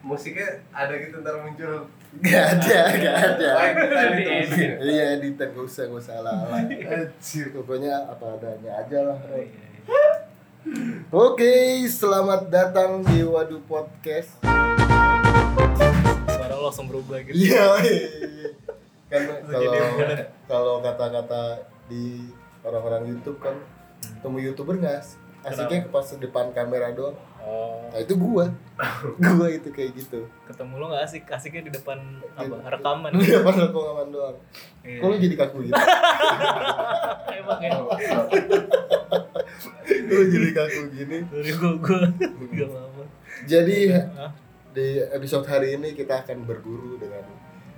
musiknya ada gitu ntar muncul Gak ada, Nah, gak iya. ada. Lain, lain itu. Iya, Dita gak usah, gak usah ala-ala. Anjir, pokoknya apa adanya aja lah. Oh, iya, Oke, selamat datang di Waduh Podcast. Suara lo langsung berubah gitu. Iya. kan kalau Jadi bener. kalau kata-kata di orang-orang YouTube kan temu youtuber nggak as- asiknya pas depan kamera doang. Oh, Nah itu gua, gua itu kayak gitu. ketemu lo gak asik, asiknya di depan apa? Di- Rekaman. Di depan rekaman doang. Iya. Kok lu jadi kaku gitu? Emang ya. Kok lu jadi kaku gini? Dari gua gua gak apa-apa. Jadi Hah? di episode hari ini kita akan berguru dengan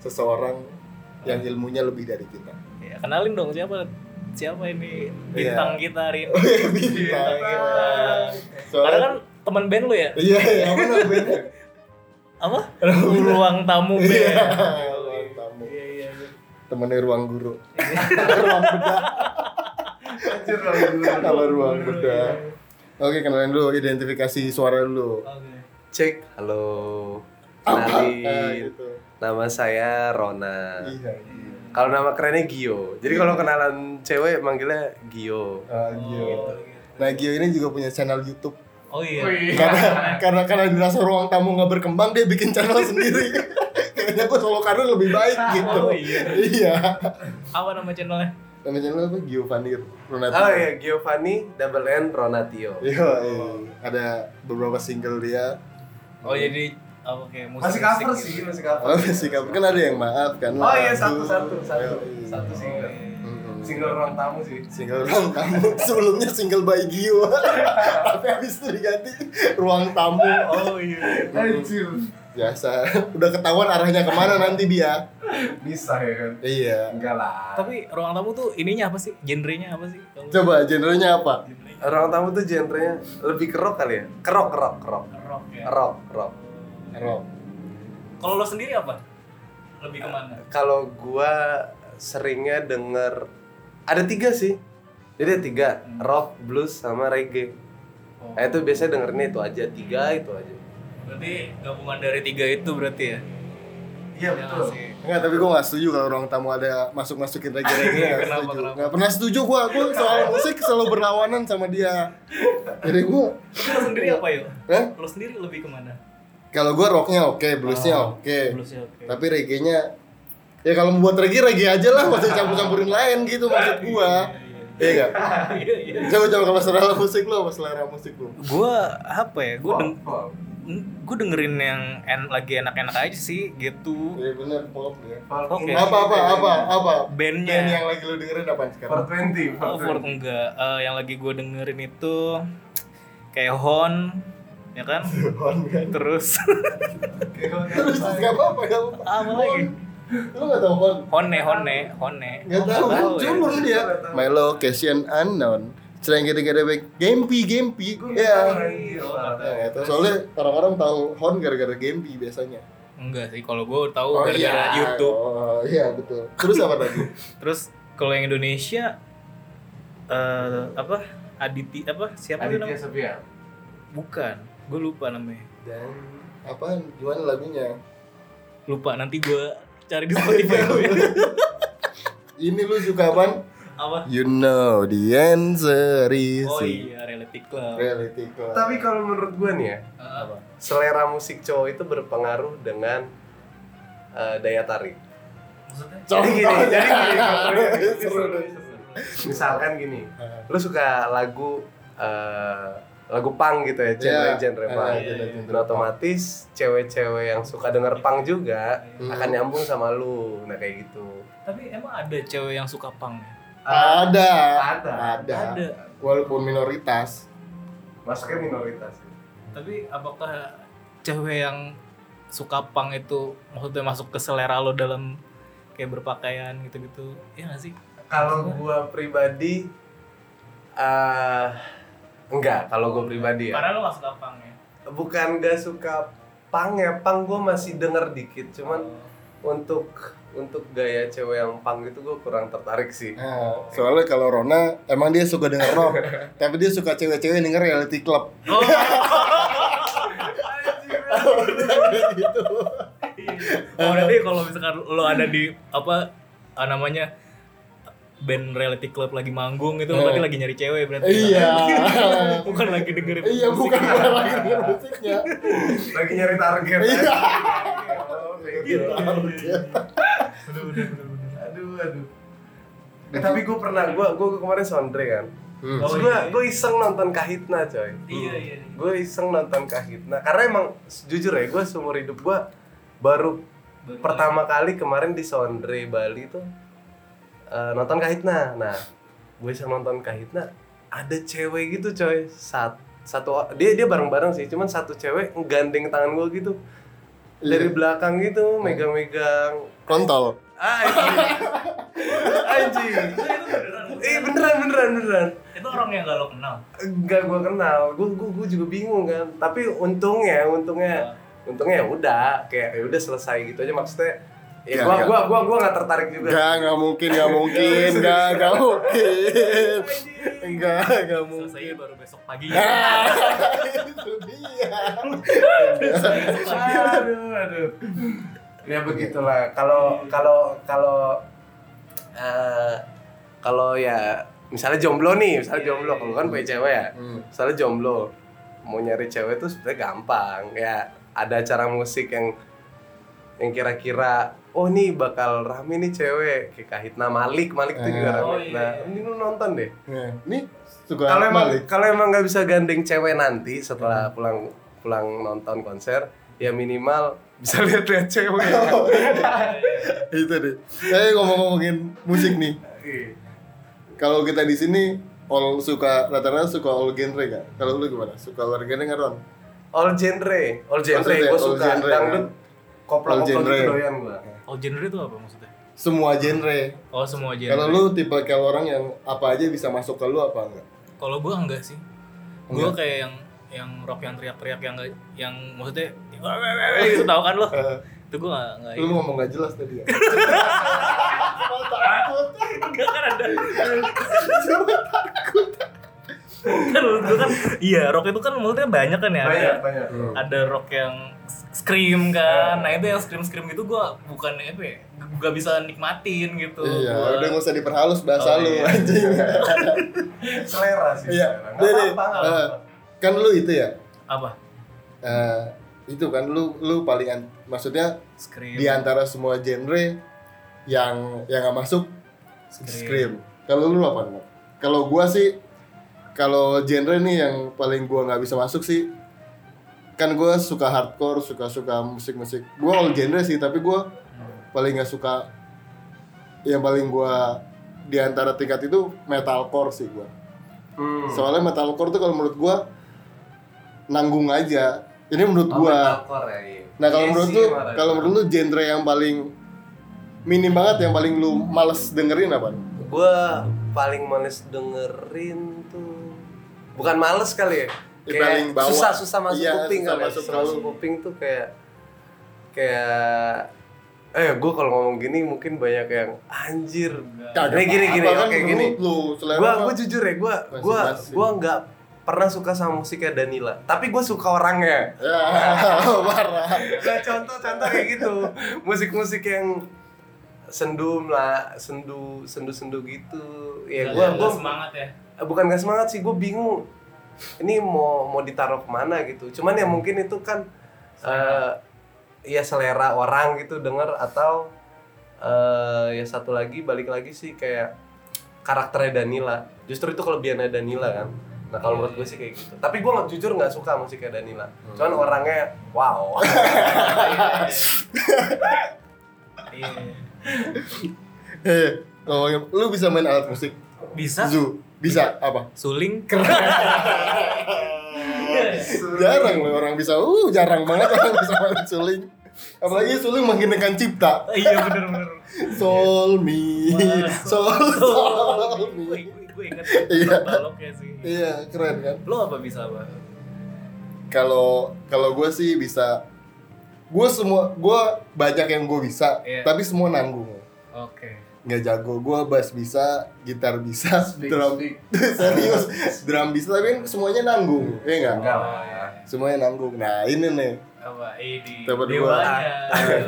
seseorang yang ilmunya lebih dari kita. Ya, kenalin dong siapa siapa ini bintang kita hari ini. Bintang kita. Karena Iya, Soalnya kan teman band lu ya? Iya, iya, apa namanya? Apa? Ruang tamu band. Iya, Iya, ruang tamu. iya, iya. Temennya ruang guru. ruang beda. Hancur lah dulu. Iya, Kalau ruang beda. Oke, kenalin dulu identifikasi suara dulu. Oke. Cek, halo. Iya. Nah, Kenalin, gitu. nama saya Rona. Iya. Kalau nama kerennya Gio. Jadi Iya. kalau kenalan cewek manggilnya Gio. Ah, Gio. Oh, Nah, Gio ini juga punya channel YouTube. Oh iya. Wih. karena karena karena dirasa ruang tamu nggak berkembang dia bikin channel sendiri kayaknya gue solo karir lebih baik Ah, gitu Oh, iya. iya Apa nama channelnya? nama channel apa Gio Vanir Ronatio Oh iya, Giovanni double N Ronatio. Iya, iya. ada beberapa single dia Oh jadi apa kayak musik? Masih cover gitu. sih, masih cover. oh sikap kan ada yang maaf kan Oh iya satu lagu. satu satu Oh, Iya. satu single. Mm-mm. Single ruang tamu sih. single ruang tamu sebelumnya single by Gio tapi habis itu diganti ruang tamu Oh iya. Anjir. biasa udah ketahuan arahnya kemana nanti dia Bisa ya kan. iya Enggak lah. Tapi ruang tamu tuh ininya apa sih? Genrenya apa sih? Kalau- coba genrenya apa Orang tamu tuh genrenya lebih kerok kali ya. Kerok, kerok, kerok. rock Iya. ya. Rock, rock. rock Kalau lo sendiri apa? Lebih kemana? Kalau gua seringnya denger ada tiga sih. Jadi ada tiga, rock, blues, sama reggae. Hmm. Oh. Nah, itu biasanya dengernya itu aja, tiga itu aja. Berarti gabungan dari tiga itu berarti ya? iya betul. sih. Enggak, tapi gue gak setuju kalau ruang tamu ada masuk-masukin reggae-reggae Iya, nggak kenapa, setuju. kenapa? Nggak pernah setuju gue, gue soal musik selalu berlawanan sama dia Jadi gue, Lo sendiri apa ya? Hah? Lo sendiri lebih kemana? kalau gue rocknya oke, bluesnya Oh, oke Bluesnya oke. Eh. Tapi reggae-nya, ya kalau membuat reggae, reggae aja lah Masih campur-campurin lain gitu maksud gue Iya gak? Iya iya. Coba-coba kalau selera musik lo, apa selera musik lo? Gue apa ya? Gue deng Wow. gue dengerin yang en lagi enak-enak aja sih gitu. Iya bener, pop ya Oke. Apa-apa, apa, apa? Bandnya. Band yang lagi lo dengerin apa sekarang? 420, Iya, Oh, Ford enggak. Eh, yang lagi gue dengerin itu kayak Hon, ya kan? Terus Terus gak apa-apa, ya. gak apa-apa apa lagi? Lo gak tau Hon? Hone, Hone, Hone. Gak tahu kan ya. cumur dia. Melo Cassian unknown. Selain kita gara baik Gempi Gempi. Ya. Ya, itu soalnya orang-orang tahu Hon gara-gara Gempi biasanya. Enggak sih, kalau gue tahu Oh, gara-gara YouTube. Oh iya betul. Terus apa lagi? Terus kalau yang Indonesia eh apa? Aditi apa? Siapa tuh Aditya namanya? Sepia. Bukan, gue lupa namanya. Dan apaan? Gimana lagunya? Lupa nanti gue cari di Spotify gue. Ini lu suka apaan? apa? You know the answer is Oh iya, Reality Club. Reality Club. Tapi kalau menurut gua nih ya, Apa? selera musik cowok itu berpengaruh dengan eh, daya tarik. Maksudnya? Iya. Jadi gini, jadi gini, Seru, misalkan gini, lu suka lagu eh, lagu punk gitu ya, genre Iya. genre Iya, punk. genre- genre Dan otomatis cewek-cewek yang suka denger punk juga Hmm. akan nyambung sama lu, nah kayak gitu. Tapi emang ada cewek yang suka punk? ya? Ada. Ada. Ada. Ada. Walaupun minoritas. Masuknya minoritas. sih. Tapi apakah cewek yang suka punk itu maksudnya masuk ke selera lo dalam kayak berpakaian gitu-gitu? Iya gak sih? Kalau gua pribadi eh enggak, kalau gua pribadi ya. Karena lo gak suka punk ya? bukan gak suka pang ya pang gue masih denger dikit cuman untuk untuk gaya cewek yang pang gitu gue kurang tertarik sih Nah, soalnya kalau Rona emang dia suka denger rock, tapi dia suka cewek-cewek yang denger reality club. Oh, Anjir, anjir. gitu. Oh, berarti kalau misalkan lo ada di apa ah, namanya band reality club lagi manggung gitu, Eh. berarti lagi nyari cewek berarti. Iya. bukan lagi dengerin. Iya musik. bukan bukan lagi dengan musiknya. Lagi nyari target. Iya. Oh, kayak gitu. Bener, bener, bener, bener. Aduh, aduh. Eh, tapi gue pernah, gue gue kemarin sondre kan. Hmm. Terus Oh, gue iya, iya. gue iseng nonton Kahitna coy. Iya, iya. iya. Gue iseng nonton Kahitna karena emang jujur ya gue seumur hidup gue baru Baru pertama kali kemarin di Sondre Bali tuh eh, nonton Kahitna. Nah, gue iseng nonton Kahitna ada cewek gitu coy. Sat, satu dia dia bareng-bareng sih, cuman satu cewek gandeng tangan gue gitu dari Iya. belakang gitu megang-megang Kontol. Ah, anjing. anjing. Itu beneran. Eh beneran beneran beneran. Itu orang yang gak lo kenal. Enggak gua kenal. Gua, gua, gua juga bingung kan. Tapi untungnya untungnya untungnya ya udah kayak ya udah selesai gitu aja maksudnya. Ya, Iya, gua, iya. gua gua gua nggak tertarik juga. Enggak, enggak mungkin, enggak mungkin, enggak, enggak mungkin. Enggak, enggak mungkin. Selesai baru besok pagi. Ah, itu dia. Aduh, aduh. Ya begitulah. Kalau kalau kalau eh, kalau ya misalnya jomblo nih, Iya, misalnya jomblo kalau kan punya cewek ya. Hmm. misalnya jomblo mau nyari cewek tuh sebenarnya gampang ya ada acara musik yang yang kira-kira oh nih bakal rame nih cewek kayak Kahitna Malik Malik tuh juga Ah. rame Oh, iya, nah iya. ini lu nonton deh Nah, Ini suka kalau emang Malik. kalau emang nggak bisa gandeng cewek nanti setelah Hmm. pulang pulang nonton konser ya minimal bisa lihat-lihat cewek itu deh. Saya ngomong-ngomongin musik nih. Kalau kita di sini all suka rata-rata suka all genre kan? Kalau lu gimana? Suka luar genre nggak Ron? all genre all genre gue Maksudnya all suka genre, dangdut kan? All koplo koplo genre. gitu doyan gue Oh, genre itu apa maksudnya? Semua genre. Oh, semua genre. Kalau lu tipe kalau orang yang apa aja bisa masuk ke lu apa enggak? Kalau gua enggak sih. Gua kayak yang yang rock yang teriak-teriak yang nggak- yang maksudnya "Wah, wah, wah, wah," gitu tau kan lo? Eh. Itu gua enggak enggak. Lu ngomong nggak jelas tadi ya? Enggak kan ada. Kan menurut gua kan iya rock itu kan maksudnya banyak kan Iya, ya. Banyak, Ada, banyak. Hmm. ada rock yang s- scream kan. Nah, itu yang scream-scream gitu gua bukan apa ya? Gak bisa nikmatin gitu. Iya, Gua- udah nggak usah diperhalus bahasa Oh, lu iya. anjing. Selera sih. Iya. selera. Nggak Jadi, apa-apa, nggak eh, apa-apa. kan lu itu ya. apa? eh, itu kan lu lu paling an- maksudnya Scream. di antara semua genre yang yang nggak masuk scream. Kalau lu apa? Nat? Kalau gua sih kalau genre nih yang paling gua nggak bisa masuk sih kan gua suka hardcore, suka suka musik-musik. Gua all genre sih, tapi gua paling nggak suka yang paling gua di antara tingkat itu metalcore sih gua. hmm. Soalnya metalcore tuh kalau menurut gua nanggung aja. Ini menurut Oh, gua. metalcore ya, iya. Nah kalau Iya menurut sih, lu, marah. kalau menurut lu genre yang paling minim banget yang paling lu males dengerin apa? gue paling males dengerin tuh bukan males kali ya Di paling kayak bawah. susah susah masuk Iya, kuping susah kali ya. masuk susah masuk terlalu. kuping tuh kayak kayak eh gue kalau ngomong gini mungkin banyak yang anjir ini gini gini Apa kan oke gini menurut Lu selera gue apa? gue jujur ya gue gue Masing-masing. gue nggak pernah suka sama musiknya Danila tapi gue suka orangnya Ya, parah. Nah, contoh-contoh kayak gitu. Musik-musik yang sendum lah, sendu, sendu-sendu gitu. Ya Nggak- gua nggak gua semangat ya. bukan gak semangat sih, gua bingung. Ini mau mau ditaruh kemana gitu. Cuman ya mungkin itu kan eh ya selera orang gitu denger atau eh ya satu lagi balik lagi sih kayak karakternya Danila. Justru itu kelebihannya Danila kan. Nah kalau menurut gue sih kayak gitu. Tapi gue nggak jujur nggak suka musiknya Danila. Cuman orangnya wow. Iya. Eh, ngomongin, lu bisa main alat musik? Bisa Zu, bisa apa? suling keren. Jarang loh orang bisa. Uh, jarang banget orang bisa main suling. Apalagi suling menggunakan cipta. iya bener bener. Soul me, soul, soul Gue me. gue inget Iya. baloknya ya sih. Iya, keren kan? Lo apa bisa apa? kalau kalau gue sih bisa gue semua gue banyak yang gue bisa Iya. tapi semua nanggung Oke. nggak jago gue bass bisa gitar bisa Speak, drum speak. serius drum bisa tapi kan semuanya nanggung ya nggak Enggak Oh, lah. iya. semuanya nanggung nah ini nih apa ini Iya, Kita berdua.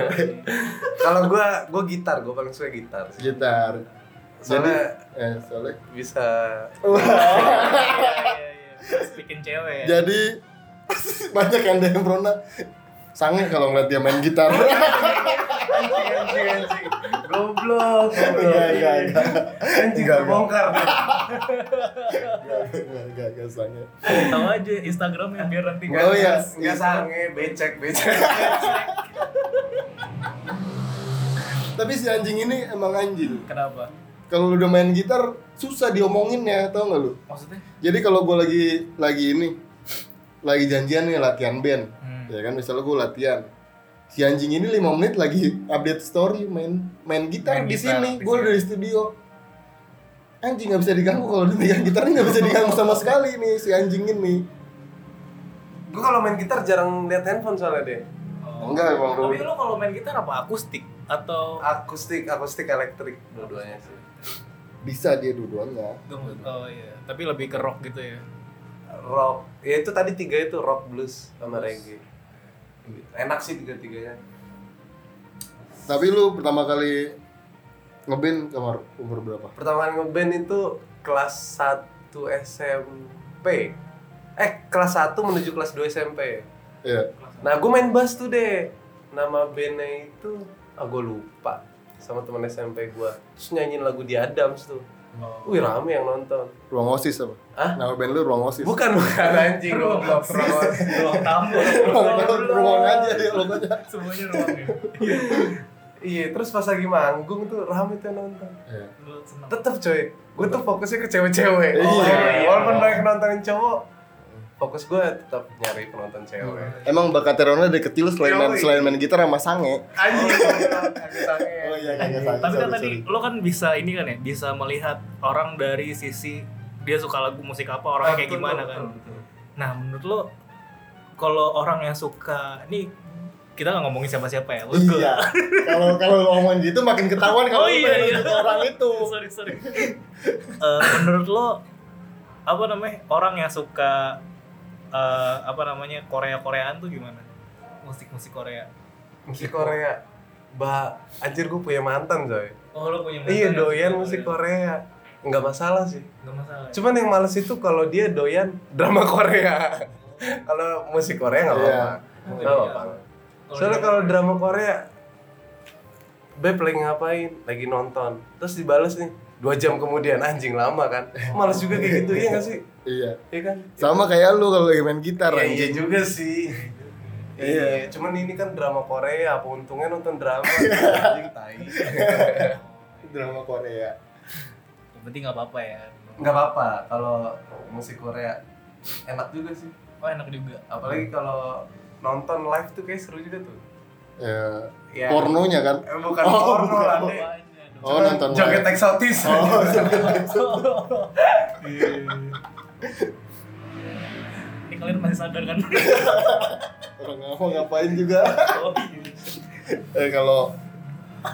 Kalau gua gua gitar, gua paling suka gitar. sih. gitar jadi Soalnya eh, soalnya bisa bikin cewek ya. jadi banyak yang DM Rona sange kalau ngeliat dia main gitar anjing anjing anjing. Goblok. enggak enggak enggak Anjing Iya, Enggak, enggak. terbongkar. enggak enggak enggak sange tahu aja Instagramnya biar nanti kan. Oh, iya. Enggak sange, becek, becek. tapi si anjing ini emang anjing kenapa kalau lu udah main gitar susah diomongin ya tau nggak lu maksudnya jadi kalau gue lagi lagi ini lagi janjian nih latihan band Hmm. ya kan misalnya gue latihan si anjing ini lima menit lagi update story main main gitar Main di gitar, sini di gue sini. dari studio anjing nggak bisa diganggu kalau dia megang gitar nggak bisa diganggu sama sekali nih si anjing ini Gua kalau main gitar jarang lihat handphone soalnya deh. Oh. Enggak, Bang tapi Ruben. lu kalau main gitar apa akustik atau Akustik, akustik elektrik dua-duanya sih. bisa dia dua-duanya oh iya tapi lebih ke rock gitu ya Rock. Ya itu tadi tiga itu rock, blues sama reggae. Enak sih tiga-tiganya. tapi lu pertama kali ngeband kamar umur berapa Pertama kali ngeband itu kelas 1 SMP. Eh, kelas 1 menuju kelas 2 SMP. ya Nah, gue main bass tuh deh. Nama bandnya itu, ah gue lupa. Sama teman SMP gue. Terus nyanyiin lagu di Adams tuh. Oh. Wih, rame yang nonton. ruang osis apa Hah? nama band lu ruang osis Bukan, bukan anjing. Goblok, Rolos. ruang tamu ruang, ruang aja dia logonya semuanya ruang ya Iya, terus pas lagi manggung tuh rame tuh yang nonton. Iya. lu seneng Tetep coy, gue tuh fokusnya ke cewek-cewek. Oh, iya. Walaupun banyak nontonin cowok, fokus gue tetap nyari penonton cewek. Emang bakat Rona dari kecil selain main, Yoi. selain main gitar sama sange. Anjing, ya. Oh iya, kagak sange. tapi kan Sorry, tadi sorry. lo kan bisa ini kan ya bisa melihat orang dari sisi dia suka lagu musik apa Orang orangnya kayak gimana kan nah menurut lo kalau orang yang suka ini kita nggak ngomongin siapa siapa ya lo Iya. Kalau kalau ngomong gitu makin ketahuan kalau Oh, lu iya, pengen iya. nunjuk ke orang itu. sorry sorry Eh, menurut lo apa namanya orang yang suka eh, apa namanya Korea Koreaan tuh gimana musik musik Korea Musik Korea. Ba, anjir gue punya mantan coy. oh lo punya mantan Iya yang doyan suka musik Korea. Nggak masalah sih. nggak masalah ya? Cuman yang males itu kalau dia doyan drama Korea. kalau musik Korea nggak apa-apa. Iya. Nggak apa-apa. Soalnya kalau drama Korea, Beb lagi ngapain? Lagi nonton. Terus dibales nih, dua jam kemudian anjing lama kan. Males juga kayak gitu, iya nggak sih? Iya. Iya kan? Sama kayak lu kalau lagi main gitar Iya, iya anjing. juga sih. Iya, cuman ini kan drama Korea, apa untungnya nonton drama? Anjing tai. iya. Drama Korea. yang penting nggak apa-apa ya Enggak apa-apa kalau musik Korea enak juga sih. oh enak juga Apalagi Hmm. kalau nonton live tuh kayak seru juga tuh. Ya, Iya. pornonya kan. Eh, bukan Oh, porno bukan. lah, Dek. Apanya dong? Oh, nonton live. joget eksotis. Oh, ini kalian masih sadar kan orang ngapa ngapain juga. Oh, iya. eh kalau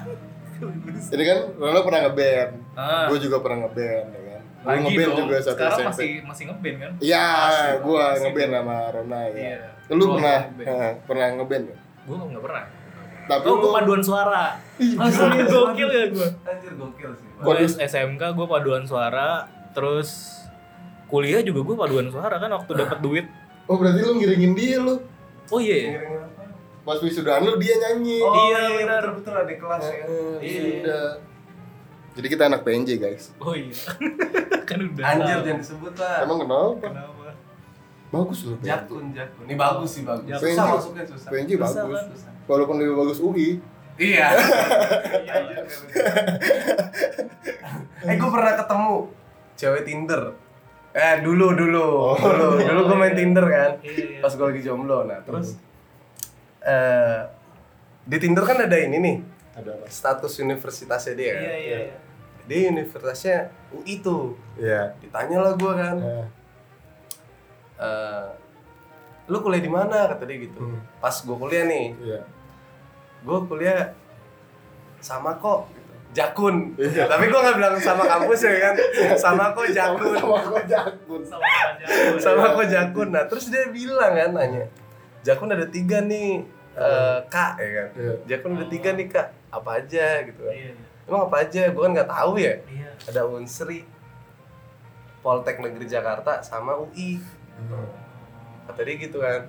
ini kan Rona pernah ngeband. Ah. Gue juga pernah ngeband ya kan. Gue lagi ngeband dong juga satu sekarang SMP. masih masih ngeband kan Iya, Masih, gue masih. ngeband sama Rona ya. Iya. Lu Gua pernah ngeband. eh, pernah ngeband? ya? gue nggak pernah Tapi Iya. oh lu gue paduan suara asli gokil ya gue Anjir gokil sih. Pak. Gua- gue SMK gue paduan suara terus kuliah juga gue paduan suara kan waktu dapat duit Oh berarti lu ngiringin dia lu oh iya ya Ngiringin apa? Pas wisudaan lu dia nyanyi Oh, Iya, iya, benar. betul betul ada kelas ya. Eh, wisuda. Jadi kita anak PNJ guys oh iya kan udah Anjir tahu. jangan disebut lah. Emang kenapa? kenapa Bagus loh PNJ Jakun, jakun. Ini bagus sih bagus. Jakun. Susah masuknya susah. PNJ Susah bagus kan? Susah. Walaupun lebih bagus UI Iya. Iya, iya. eh gue pernah ketemu cewek Tinder. Eh dulu dulu dulu dulu gue main Tinder kan. Iya. Pas gue lagi jomblo nah terus eh di Tinder kan ada ini nih Ada apa? status universitasnya dia kan. iya iya iya. Dia universitasnya UI tuh. Iya Ditanya lah gue kan. Eh, eh lu kuliah di mana kata dia gitu Hmm. pas gue kuliah nih Iya gue kuliah sama kok gitu. jakun tapi gue nggak bilang sama kampus ya kan sama kok jakun Sama kok jakun sama aja sama kok jakun nah terus dia bilang kan nanya Jakun ada tiga nih eh, kak ya kan Iya. Jakun ada tiga nih kak apa aja gitu kan Iya, iya. emang apa aja gue kan nggak tahu ya Iya. ada Unsri Poltek Negeri Jakarta sama UI kata dia gitu kan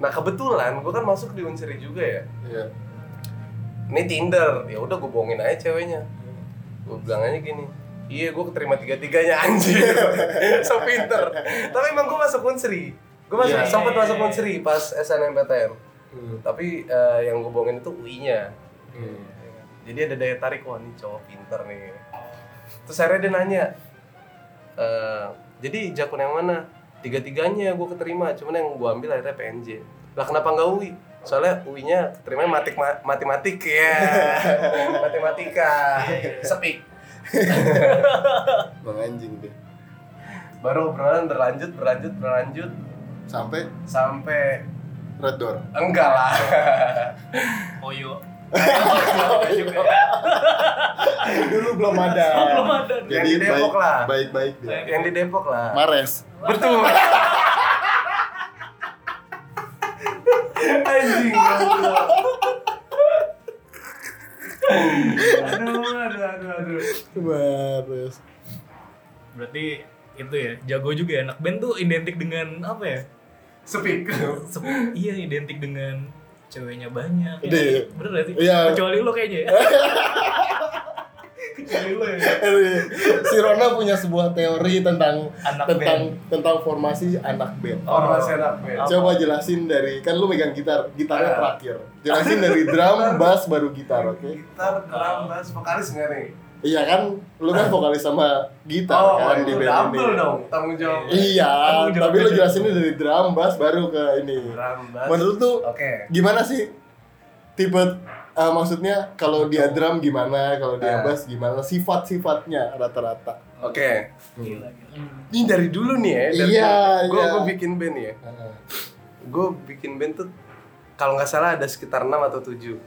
nah kebetulan gue kan masuk di Unsri juga ya Iya. ini Tinder ya udah gue bohongin aja ceweknya gue bilang aja gini iya gue keterima tiga tiganya anjir so pinter tapi emang gue masuk unsri gue masuk Iya. sempat masuk unsri pas SNMPTN Hmm. tapi eh, yang gue bohongin itu UI nya Hmm. Iya kan? jadi ada daya tarik wah ini cowok pinter nih terus akhirnya dia nanya "Eh, jadi jakun yang mana tiga tiganya gue keterima cuman yang gue ambil akhirnya PNJ lah kenapa nggak UI soalnya UI nya keterima matik ma- matematik ya matematika sepik Bang anjing deh. baru obrolan berlanjut berlanjut berlanjut Sampai sampai red door. enggak lah Oyo. Dulu belum ada. Belum ada. Jadi Yang di Depok baik, lah. baik baik dia. Baik. yang di Depok lah Mares. Betul. Anjing. goblok. Aduh, aduh, aduh, aduh. Mares. Berarti itu ya, jago juga ya. Anak band tuh identik dengan apa ya? Sepi. Sep- iya, identik dengan ceweknya banyak. ya. Iya. Bener berarti? Iya. Kecuali lo kayaknya ya. Kecuali lo ya. Eh, iya. si Rona punya sebuah teori tentang Anak tentang tentang formasi anak band. Oh, masih enak, men. Apa? Coba jelasin dari kan lu megang gitar, gitarnya Ah. terakhir. Jelasin dari drum, bass baru gitar, oke? Gitar, drum, bass, vokalis nggak nih? Iya kan, lu kan Ah. vokalis sama gitar kan di itu band Oh, double ini. dong tanggung jawab. Iya, Tanggung jawab tapi lu aja. jelasinnya dari drum, bass baru ke ini. Drum, bass. Menurut tuh Oke. gimana sih tipe eh, maksudnya kalau dia drum gimana, kalau Ah. dia bass gimana, sifat-sifatnya rata-rata. Oke. Gila, gila. Ini dari dulu nih ya. dari Iya, dulu. Gua, iya. gua bikin band ya. Ah. Gue bikin band tuh kalau nggak salah ada sekitar 6 atau 7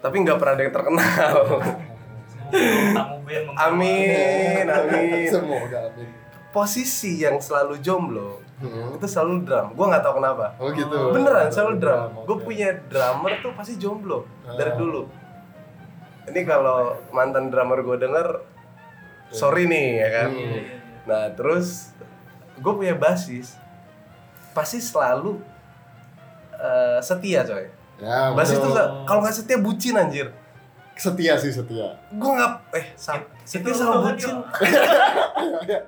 tapi nggak pernah ada yang terkenal. Hmm. Semoga Tamu band membawa- amin, amin. Semoga amin. posisi yang selalu jomblo Hmm. itu selalu drum gue nggak tahu kenapa Oh gitu. beneran selalu drum gue oke. punya drummer tuh pasti jomblo dari Ah. dulu ini kalau mantan drummer gue denger sorry nih ya kan Hmm. Iya, iya, iya. nah terus gue punya basis pasti selalu eh, setia coy Ya, basis betul. tuh nggak- kalau nggak setia bucin anjir setia sih setia. gue nggak eh sam- setia Itu sama banget, bucin Yo.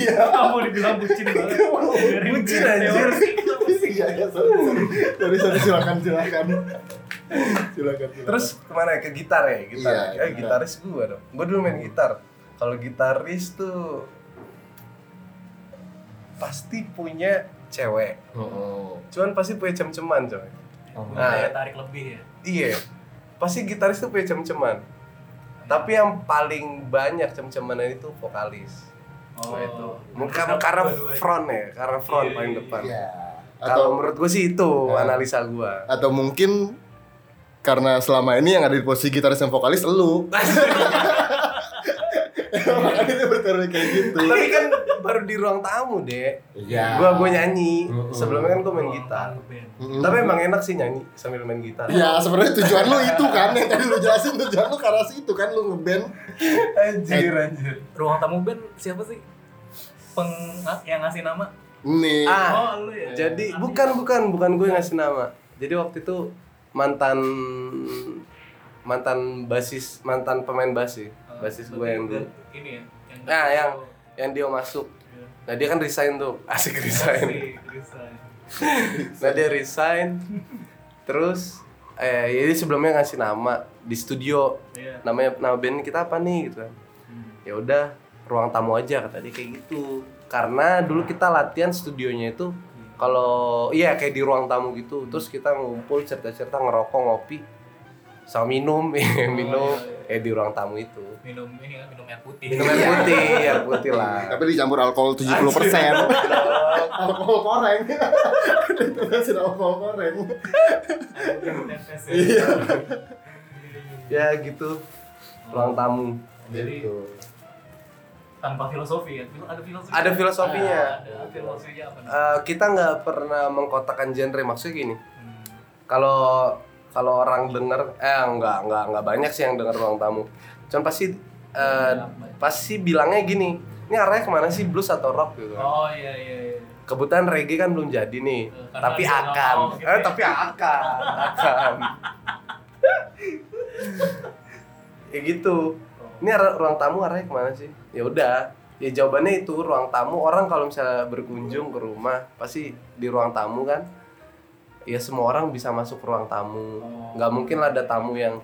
Iya. Kamu dibilang bucin banget. Dengerin Bucin, teori anjir. itu. Iya, iya, sorry, sorry. Sorry, sorry, silakan, silakan. Silakan, silakan. Terus kemana ya? Ke gitar ya? Gitar. Iya, Eh, gitar. gitaris gue dong. Gue dulu main gitar. Kalau gitaris tuh pasti punya cewek. Oh, Cuman pasti punya cem-ceman coy. Nah, Punya daya tarik lebih ya. Iya. Pasti gitaris tuh punya cem-ceman. Tapi yang paling banyak cem-cemannya itu vokalis. Oh, itu. Mungkin karena gitu. Dua-duanya. front ya, karena front Iya, paling iya, depan. Iya. Kalau Atau menurut gue sih itu Ya. analisa gue. atau mungkin karena selama ini yang ada di posisi gitaris dan vokalis elu. Makanya dia berteori kayak gitu. Tapi kan baru di ruang tamu, Dek. Iya. Gua gua nyanyi. Mm-mm. Sebelumnya kan gua main gitar. Tamu band. Mm-mm. Tapi emang enak sih nyanyi sambil main gitar. Ya sebenarnya tujuan lu itu kan yang tadi lu jelasin tujuan lu karena itu kan lu ngeband. Anjir, anjir. Ruang tamu band siapa sih? Peng ah, yang ngasih nama? Nih. Ah, oh, lu ya. jadi bukan bukan bukan gue yang ngasih nama. Jadi waktu itu mantan mantan basis mantan pemain basis Oh, basis gue berarti yang dulu. udah Ini ya. yang- Nah, yang yang dia masuk. Iya. Nah, dia kan resign tuh. Asik resign. Asik, resign. Nah, dia resign. Terus eh jadi sebelumnya ngasih nama di studio. Iya. Namanya nama band kita apa nih gitu kan. Hmm. ya udah ruang tamu aja kata dia kayak gitu karena dulu Hmm. kita latihan studionya itu kalau iya kayak di ruang tamu gitu terus kita ngumpul cerita-cerita ngerokok ngopi sama Oh, minum minum eh iya, di ruang tamu itu Minum ini kan minum air putih. minum air putih air putih lah Tapi dicampur alkohol 70 persen. alkohol koreng. Diterusin alkohol koreng. Air putih tetes ya. Iya. Oh. ya gitu ruang tamu Jadi Gitu. tanpa filosofi ya Fil- ada filosofi Ah, Ada filosofinya. ada filosofinya apa nih? Eh, kita nggak pernah mengkotakkan genre maksudnya gini Hmm. kalau kalau orang denger eh nggak nggak nggak banyak sih yang denger ruang tamu cuman pasti eh, pasti bilangnya gini ini arahnya kemana sih blues atau rock gitu kan. oh iya iya iya kebetulan reggae kan belum jadi nih Eh, karena tapi ada yang akan ngomong gitu eh ya. tapi akan akan ya gitu Oh. ini arah, ruang tamu arahnya kemana sih ya udah ya jawabannya itu ruang tamu orang kalau misalnya berkunjung ke rumah pasti di ruang tamu kan ya semua orang bisa masuk ruang tamu Oh. nggak mungkin lah ada tamu yang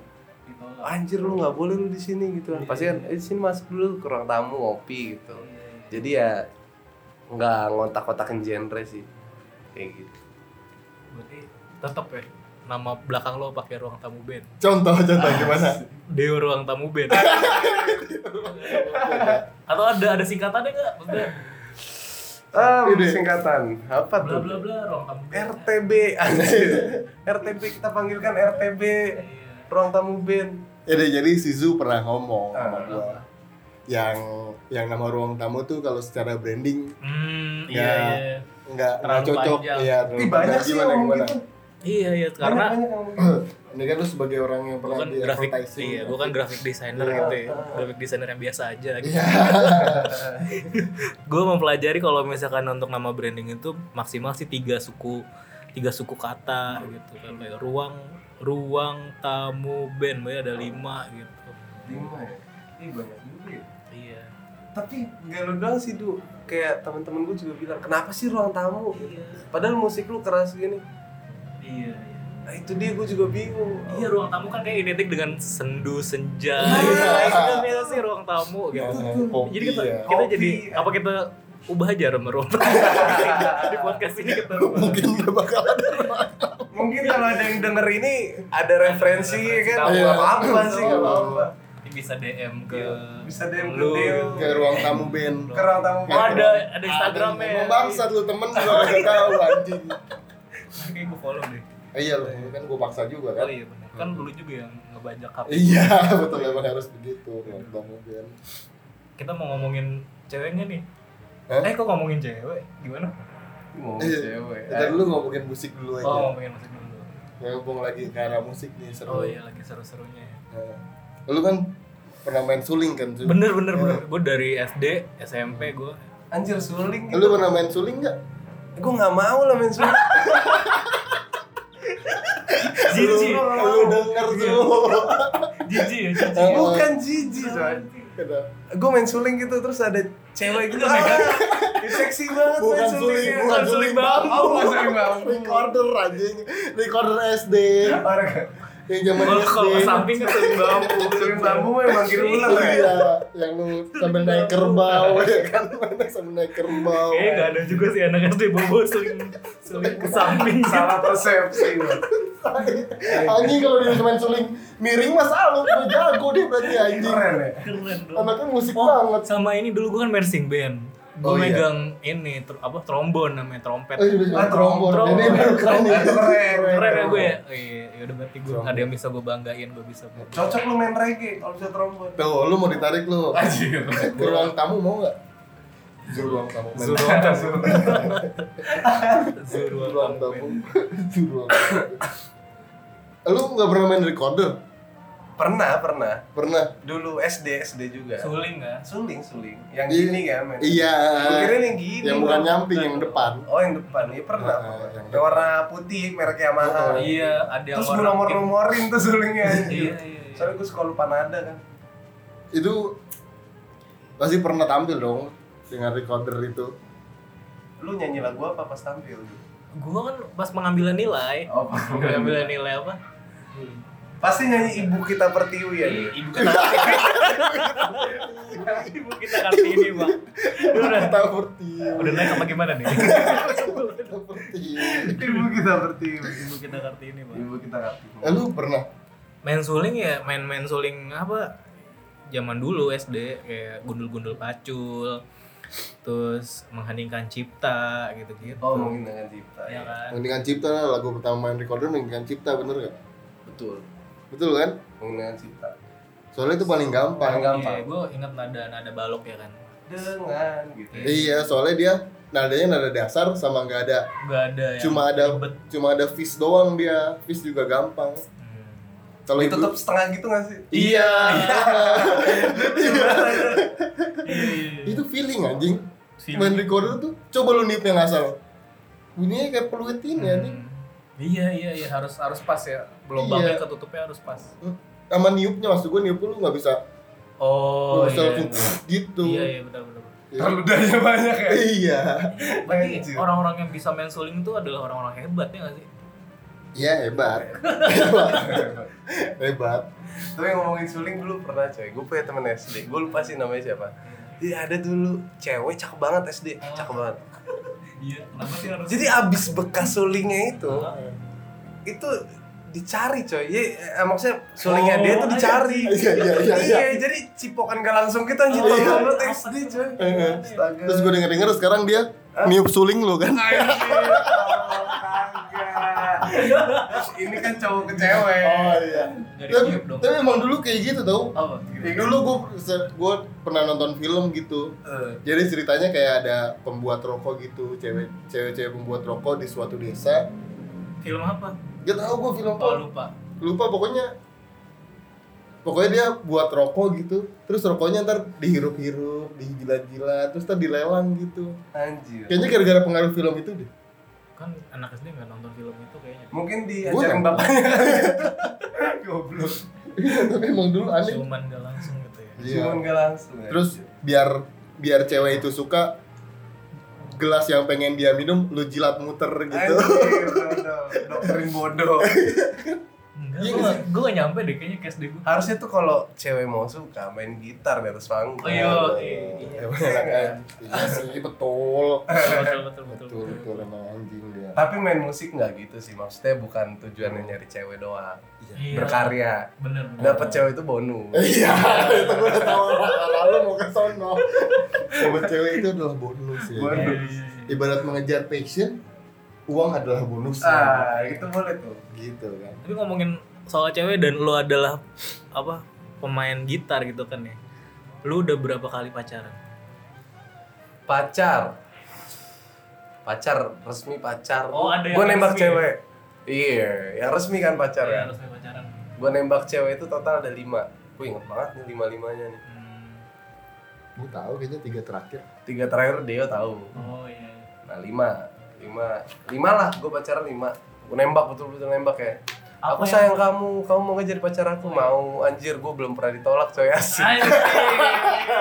Ditolak. anjir lu nggak boleh lu di sini gitu kan pasti kan eh, sini masuk dulu ke ruang tamu ngopi gitu Iya, iya. jadi ya nggak ngontak-kontakin genre sih kayak gitu berarti tetap ya nama belakang lo pakai ruang tamu band Contoh contoh gimana? Ah. Deo ruang tamu band atau ada ada singkatannya nggak maksudnya ah Ide. singkatan apa bla tuh bla bla ruang tamu band RTB anjir RTB kita panggilkan RTB Iya. ruang tamu band Ya deh, jadi si Zu pernah ngomong sama Ah. gua yang yang nama ruang tamu tuh kalau secara branding hmm iya Ya. iya nggak nggak Terlalu cocok panjang. Iya, terlalu Ih, banyak panjang. sih Gimana, yang gimana? gitu iya iya karena karena banyak yang ngomong gitu. ini kan lu sebagai orang yang pernah bukan di kan grafik advertising iya bukan grafik designer Iya. gitu ya grafik designer yang biasa aja gitu gue mempelajari kalau misalkan untuk nama branding itu maksimal sih tiga suku tiga suku kata gitu kan kayak ruang ruang tamu band banyak ada lima gitu lima ya ini banyak juga ya iya tapi nggak lu doang sih du kayak teman-teman gue juga bilang kenapa sih ruang tamu iya padahal musik lu keras gini iya nah itu dia gue juga bingung Iya ruang tamu kan kayak identik dengan sendu senja Iya. gitu. Itu biasa sih ruang tamu gitu. Nah, kopi Jadi kita, ya. kita Kopi. jadi apa kita ubah aja sama ruang tamu di podcast ini kita ubah. mungkin gak bakal ada mungkin kalau ada yang denger ini ada referensi ya kan Iya. nggak apa-apa sih Nggak nggak apa-apa apa-apa. Ini bisa DM ke Bisa DM ke Iya. lu. Deo. ke ruang tamu band ke ruang tamu Oh, ada ya. ada Instagramnya. Emang bangsat lu temen juga gak tahu anjing Kayak gue follow deh. Eh, iya lu kan gue paksa juga kan Oh iya benar. Kan dulu juga yang ngebajak HP. iya betul emang harus begitu ruang tamu band Kita mau ngomongin ceweknya nih. Hah? Eh kok ngomongin cewek? Gimana? mau Iya. Oh, cewek kita dulu ngomongin musik dulu aja Oh ngomongin musik dulu. ya ngomong lagi ke arah musik nih seru Oh iya lagi seru-serunya ya. Nah, lu kan pernah main suling kan Zu? Bener bener bener. Gue dari SD, SMP gue. anjir suling lu pernah main suling nggak gue nggak mau lah main suling Jiji, Lu- lu denger tuh jiji ya jiji. Eh, bukan jijik soalnya gue main suling gitu terus ada cewek gitu ah, ya seksi banget bukan main suling sulingnya. bukan suling bambu oh bukan suling bambu recorder anjing recorder SD Orang- yang zaman Kalau SD kalau ke samping kan sering bambu. suling bambu emang kira ulang ya Iya. iya yang lu sambil naik kerbau ya kan Mana sambil naik kerbau Kayaknya nggak ada juga sih anak SD bobo suling suling ke samping. salah persepsi lu. anjing kalau dia main suling miring mas Alu udah jago dia berarti anjing keren ya Keren dong. anaknya musik Oh, banget sama ini dulu gue kan mersing band. Gue Oh, iya. megang ini tr- apa trombon namanya trompet. Eh, Ah, udah trombon. trombon. Ini baru keren nih. Keren, Keren ya gue ya. Iya, ya udah berarti gue ada yang bisa gue banggain, gue bisa. cocok lu main reggae kalau bisa trombon Tuh, lu mau ditarik lu. anjir Ke ruang tamu mau nggak? Ke ruang tamu. men. Zuru Zuru Ke ruang tamu. Ke ruang tamu. Lu nggak pernah main recorder? pernah pernah Pernah? dulu SD SD juga Suling nggak? suling suling yang gini kan main Iya. Gua kirain yang gini Yang bukan Bang. nyamping, yang depan. oh yang depan iya pernah Ah, yang yang warna putih merek Yamaha Iya, ada yang terus gue warna nomor pink. nomorin tuh sulingnya Iya, anjir iya, iya. soalnya gue suka lupa nada kan Itu pasti pernah tampil dong dengan recorder itu. lu nyanyi lagu apa pas tampil gitu? Gue kan pas pengambilan nilai, oh pengambilan nilai apa? pasti nyanyi ibu kita pertiwi ya dia Ibu kita Ibu kita kartini bang. Lu Udah, Kita seperti udah naik apa gimana nih? seperti. ibu kita pertiwi Ibu kita kartini bang. ibu kita pertiwi Eh, lu pernah? main suling ya main main suling apa zaman dulu SD kayak gundul-gundul pacul terus mengheningkan cipta gitu-gitu oh mungkin dengan cipta ya ya kan Mendingan Cipta lagu pertama main recorder Mendingan Cipta bener gak? betul Betul kan? mungkin dengan cipta Soalnya itu paling gampang. Iya, Paling gampang. gue ingat nada nada balok ya kan dengan gitu. ya. Iya, soalnya dia nadanya nada dasar sama nggak ada, Gak ada yang cuma ada Iya. ribet. cuma ada fish doang dia. Fish juga gampang. Hmm. Kalau ibu- Ditutup setengah gitu gak sih? Iya. Iya, iya, iya. itu feeling anjing. Feeling. Main recorder tuh coba lu niup yang asal. Bunyinya kayak peluit ini anjing. Hmm. Iya iya iya harus harus pas ya. Gelombangnya ketutupnya harus pas. Sama niupnya maksud gue niup lu nggak bisa Oh lu bisa iya. langsung gitu. Iya iya benar benar. Iya. Ludahnya banyak ya. Iya. Berarti Anjir. orang-orang yang bisa main suling itu adalah orang-orang hebat ya nggak sih? Iya hebat. hebat. hebat. Tapi ngomongin suling dulu pernah coy. Gue punya temen SD. Gue lupa sih namanya siapa. Iya ada dulu cewek cakep banget SD, cakep banget. Iya. Kenapa sih harus? Jadi abis bekas sulingnya itu, itu dicari coy. Iya, eh, maksudnya sulingnya Oh, dia tuh dicari. Iya iya iya. iya. Iya, jadi cipokan gak langsung kita anjir Oh, oh, iya. banget SD coy. Heeh. Astaga. Terus gue denger denger sekarang dia niup suling lu kan. Ini kan cowok ke cewek. Oh iya. Nggak Tapi, ditiup dong. tapi emang dulu kayak gitu tau. Apa? Dulu gue gue pernah nonton film gitu. Eh, Jadi ceritanya kayak ada pembuat rokok gitu, cewek cewek-cewek pembuat rokok di suatu desa. Film apa? Gak tau gue film Oh apa. lupa. Lupa pokoknya. Pokoknya dia buat rokok gitu, terus rokoknya ntar dihirup-hirup, dijilat-jilat, terus ntar dilelang gitu. Anjir. Kayaknya gara-gara pengaruh film itu deh. Kan anak SD nggak nonton film itu kayaknya. Mungkin Gua diajarin nggak- bapaknya. Goblok. Tapi emang dulu aneh. Cuman nggak langsung gitu ya. Cuman Iya. gak langsung. ya. Terus biar biar cewek itu suka gelas yang pengen dia minum lu jilat muter gitu. Anjir, bodoh. dokterin bodoh. Enggak, Iya gue nggak gak, gue gak nyampe deh kayaknya ke SD gue Harusnya tuh kalau cewek mau suka main gitar di atas panggung. Oh, iya. Emang anak anjing. Iya sih, betul. Betul, betul, betul, betul betul emang anjing dia Tapi main musik nggak gitu sih, maksudnya bukan tujuannya nyari cewek doang. Iya. Berkarya. Bener, bener. Dapat cewek itu bonus. iya itu gue udah tahu lalu mau ke sono sama cewek itu adalah bonus ya Iya, Bonus. iya, iya. ibarat mengejar passion uang adalah bonus ya. Ah, itu boleh tuh. gitu kan Tapi ngomongin soal cewek dan lo adalah apa pemain gitar gitu kan ya. Lu udah berapa kali pacaran? Pacar. Pacar resmi pacar. Oh, ada yang Gua nembak resmi. Iya, cewek. Iya, yang resmi kan pacar ya. Harusnya pacaran. Gua nembak cewek itu total ada lima. Gue inget banget nih lima limanya nih. Hmm. gue tahu kayaknya tiga terakhir Tiga terakhir Deo tahu. Oh iya. Nah lima, lima, lima lah. Gue pacaran lima. Gue nembak betul-betul nembak ya. aku Apa yang- Oh, iya. sayang kamu, kamu mau ngejar pacar aku? Mau anjir, gue belum pernah ditolak coy asik. Anjing.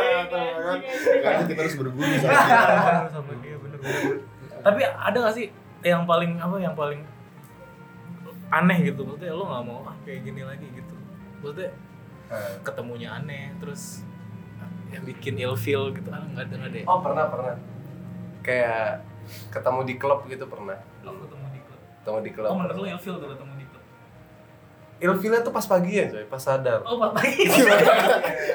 kayaknya kita harus berguru sama dia Sama- sama dia, bener, bener. Tapi ada gak sih yang paling apa yang paling aneh gitu maksudnya lo nggak mau ah kayak gini lagi gitu maksudnya ketemunya aneh terus yang bikin ilfeel gitu kan nggak ada nggak ada ya? Oh pernah pernah. Kayak ketemu di klub gitu pernah. lo ketemu di klub Ketemu di klub. oh menurut lo ilfeel tuh ketemu di klub Ilfilnya tuh pas pagi ya coy, pas sadar. oh pas pagi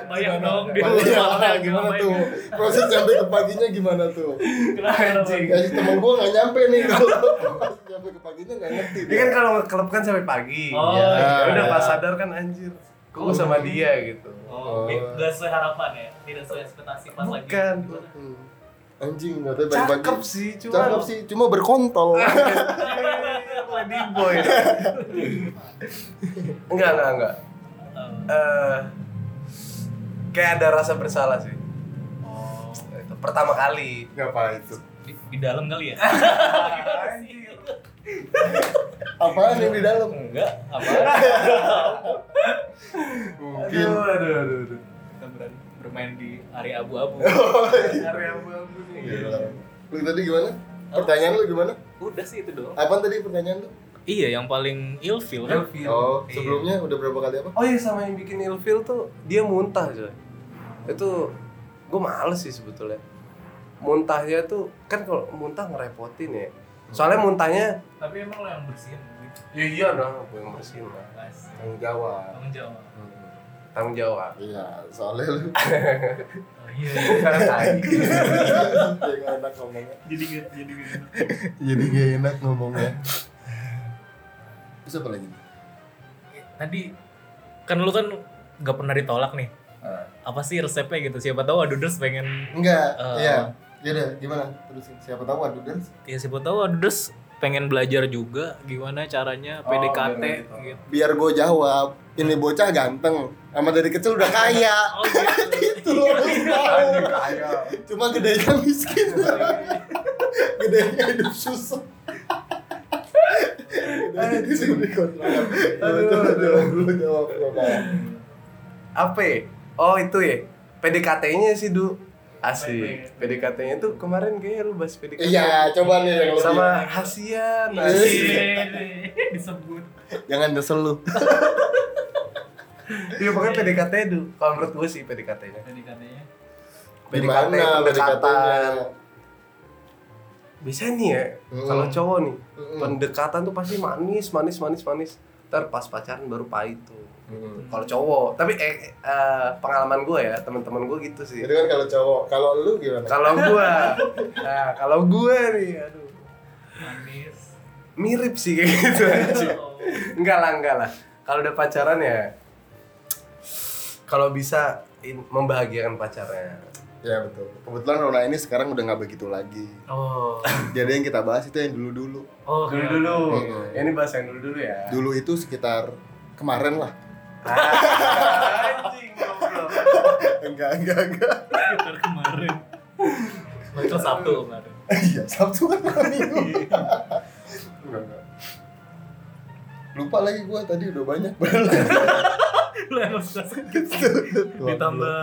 bayang dong dia Iya, malam, gimana ngapain. tuh proses sampai ke paginya gimana tuh Kenapa, kenapa? Anjing. ya temen gue nggak nyampe nih kalau pas nyampe ke paginya nggak ngerti Dia kan kalau nge klub kan sampai pagi. Oh, Ya, iya. Udah pas sadar kan anjir. Gue sama dia gitu. oh nggak sesuai harapan ya tidak sesuai ekspektasi pas lagi Bukan. Gimana? Hmm. anjing nggak tahu pagi-pagi. Cakep sih, cuma cakep sih cuma berkontol Ladyboy. enggak, enggak, enggak. Eh, kayak ada rasa bersalah sih. oh Itu pertama kali. apa itu di, di dalam kali ya apaan yang di dalam enggak apa mungkin aduh, aduh, aduh. kita berani bermain di area abu-abu Area abu-abu nih. lu tadi gimana pertanyaan lu gimana udah sih itu doang apaan tadi pertanyaan lu iya yang paling ilfeel kan Ilfil. oh Iya. sebelumnya udah berapa kali apa Oh iya sama yang bikin ilfil tuh dia muntah coy. Itu gue males sih sebetulnya. Muntahnya tuh kan kalau muntah ngerepotin ya. Soalnya muntahnya tapi emang lo yang bersihin gitu ya iya dong, gue yang bersihin lah. guys tanggung jawab tanggung jawab Tanggung jawab. iya soalnya lu oh, iya iya. Karena tadi. jadi gak enak ngomongnya jadi gak jadi gak jadi gak enak ngomongnya terus apa lagi tadi kan lu kan gak pernah ditolak nih apa sih resepnya gitu siapa tahu Aduders pengen Enggak, Eh, iya. Yaudah, gimana? Terusin. Siapa tahu aduh dan ya siapa tahu Aduders pengen belajar juga gimana caranya Oh, PDKT bener gitu. gitu. biar gue jawab. Ini bocah ganteng, sama dari kecil udah kaya. Oh Itu gitu. lo harus tahu. Cuma gedenya miskin. gedenya hidup susah. Gedenya hidup dikontrakan. Coba, coba, jawab dulu, jawab. Coba. apa ya? Oh itu ya. PDKT-nya sih Du. Asik. Baik, baik. PDKT-nya tuh kemarin kayaknya lu bahas PDKT. Iya, coba nih yang lebih. Sama Hasian. Asik. Asik. Iya. disebut Jangan nyesel lu. Iya pokoknya PDKT Du. Kalau menurut gue sih PDKT-nya. tadi katanya PDKT Gimana pendekatan. PDKT-nya? Biasanya nih ya, Mm-mm. kalau cowok nih, Mm-mm. pendekatan tuh pasti manis, manis, manis, manis. Ntar pas pacaran baru pahit tuh. Mm-mm. Kalau cowok, tapi eh, eh, pengalaman gue ya, teman-teman gue gitu sih. Itu kan kalau cowok, kalau lu gimana? Kalau gua, nah, kalau gua nih, aduh, manis mirip sih kayak gitu aja. Enggak lah, enggak lah. Kalau udah pacaran ya, kalau bisa in- membahagiakan pacarnya. Ya betul. Kebetulan Rona ini sekarang udah nggak begitu lagi. Oh. Jadi yang kita bahas itu yang dulu-dulu. Oh, Dulu kayak- dulu, Mm-mm. ini bahasa yang dulu dulu ya. Iya. Dulu itu sekitar kemarin lah. Ah, Anjing, goblok. enggak, enggak, enggak. sekitar kemarin Itu Sabtu kemarin. Iya, Sabtu kan malam minggu. Enggak, enggak. Lupa lagi gua tadi udah banyak banget. Lu emang suka sakit. Ditambah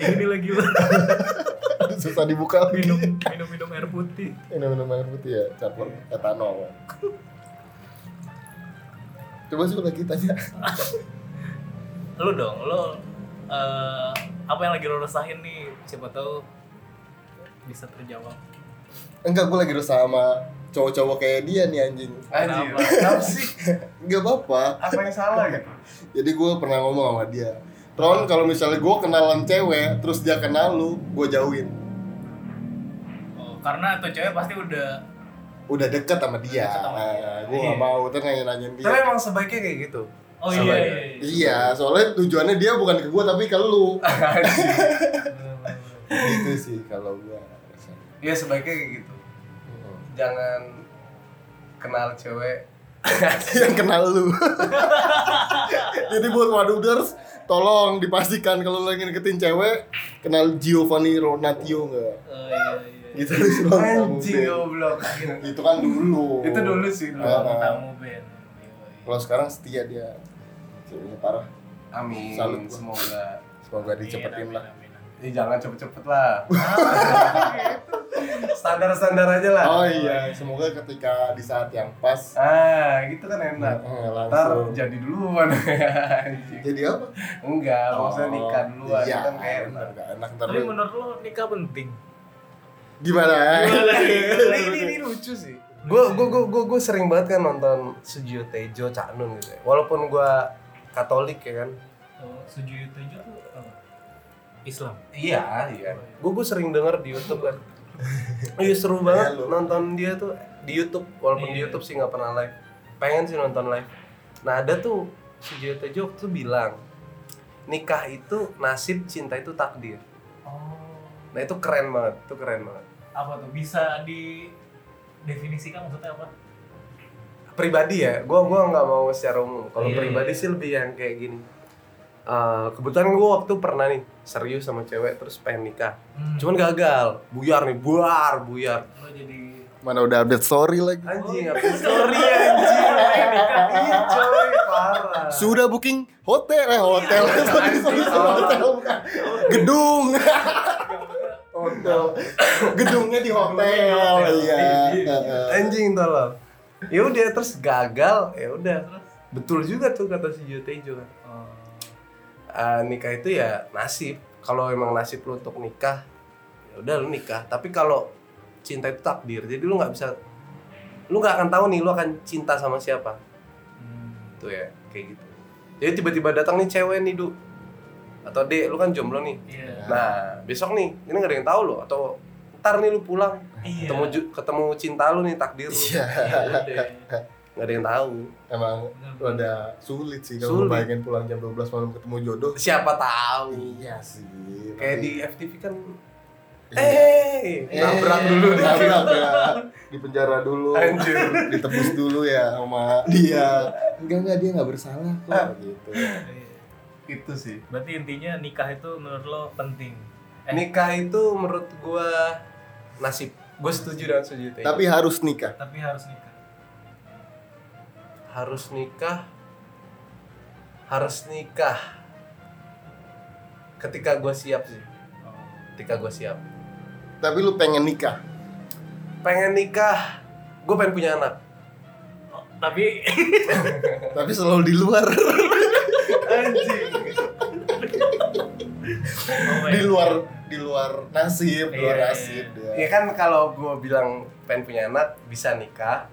ini lagi lu Aduh, susah dibuka lagi. minum minum minum air putih. Ini minum air putih ya, campur etanol. Coba sih lagi tanya. Lu dong, lu eh, apa yang lagi lu resahin nih? Siapa tahu bisa terjawab. Enggak, gua lagi resah sama cowok-cowok kayak dia nih anjing. Anjing, kenapa Kenapa? sih? Enggak apa-apa. Apa yang salah gitu? Jadi gue pernah ngomong sama dia Ron kalau misalnya gue kenalan cewek Terus dia kenal lu Gue jauhin Oh, karena tuh cewek pasti udah Udah deket sama dia Udah deket sama dia. Gue gak Iya. mau Terus nanya-nanyain dia Tapi emang sebaiknya kayak gitu. Oh Sabar iya, ya. iya, iya. Iya soalnya tujuannya dia bukan ke gue Tapi ke lu Anjing. Gitu sih kalau gue Iya sebaiknya kayak gitu. Oh. Jangan kenal cewek Yang kenal lu Jadi buat waduders Tolong dipastikan kalau lagi deketin cewek Kenal Giovanni Ronatio gak Oh, iya, iya. Gitu terus Ron sama Anjing Ben. goblok. Itu kan dulu Itu dulu sih dulu. Ah. Tamu Ben. Kalau sekarang setia dia Ceweknya parah Amin. Salut. Semoga. Semoga Iya, Iya, dicepetin lah. Eh jangan cepet-cepet lah. Standar-standar aja lah. Oh iya, semoga ketika di saat yang pas Ah, gitu kan enak. eh, Ntar langsung jadi duluan Anjing. jadi apa? Enggak, maksudnya nikah duluan Oh, Iya, itu kan kayak enak. bener, nggak enak ntar Tapi lu- menurut lu nikah penting? gimana? eh? ini, ini, ini lucu sih. Gue gue gue gue sering banget kan nonton Sujio Tejo Cak Nun gitu. Ya. Walaupun gue Katolik ya kan. Oh, Suju Tejo tuh apa? Islam. Iya iya. Gue gue sering denger di YouTube kan. Iya seru banget Iya, lu. nonton dia tuh di YouTube. Walaupun di Iya. YouTube sih nggak pernah live. Pengen sih nonton live. Nah ada tuh Sujio Tejo tuh bilang nikah itu nasib, cinta itu takdir. Oh. Nah itu keren banget, itu keren banget. Apa tuh? Bisa didefinisikan maksudnya apa? pribadi ya gua gua nggak mau secara umum kalau Iya, pribadi iya. sih lebih yang kayak gini Eh, kebetulan gua waktu pernah nih serius sama cewek terus pengen nikah Hmm. cuman gagal buyar nih buyar buyar lo jadi Mana udah update story lagi? anjing apa story anjing iya coy parah Sudah booking hotel eh hotel. Sorry, sorry, sorry, hotel, bukan. Gedung. hotel. Gedungnya di hotel. Iya. Heeh. anjing tolong ya udah terus gagal ya udah betul juga tuh kata si Jotejo kan oh, Eh, nikah itu ya nasib kalau emang nasib lu untuk nikah ya udah lu nikah tapi kalau cinta itu takdir jadi lu nggak bisa lu nggak akan tahu nih lu akan cinta sama siapa hmm. tuh ya kayak gitu jadi tiba-tiba datang nih cewek nih du atau dek lu kan jomblo nih iya Ya. nah besok nih ini nggak ada yang tahu lo atau ntar nih lu pulang iya ketemu ju- ketemu cinta lu nih takdir lu Iya. Iya, udah. nggak ada yang tahu emang rada sulit sih kalau Sulit. bayangin pulang jam 12 malam ketemu jodoh siapa tahu iya sih kayak tapi- di FTV kan Iya. eh nabrak dulu deh nabrak ya di penjara dulu Anjir. ditebus dulu ya sama dia enggak enggak dia nggak bersalah kok gitu itu sih Iya. Berarti intinya nikah itu menurut lo penting. Eh. nikah itu menurut gua nasib gue setuju dengan setuju itu tapi harus nikah Tapi harus nikah. harus nikah harus nikah ketika gua siap sih Oh. ketika gua siap tapi lu pengen nikah pengen nikah gue pengen punya anak Oh, tapi tapi selalu di luar anjing Oh, di eh. luar di luar nasib di luar Iya, iya. nasib ya. ya kan kalau gue bilang pengen punya anak bisa nikah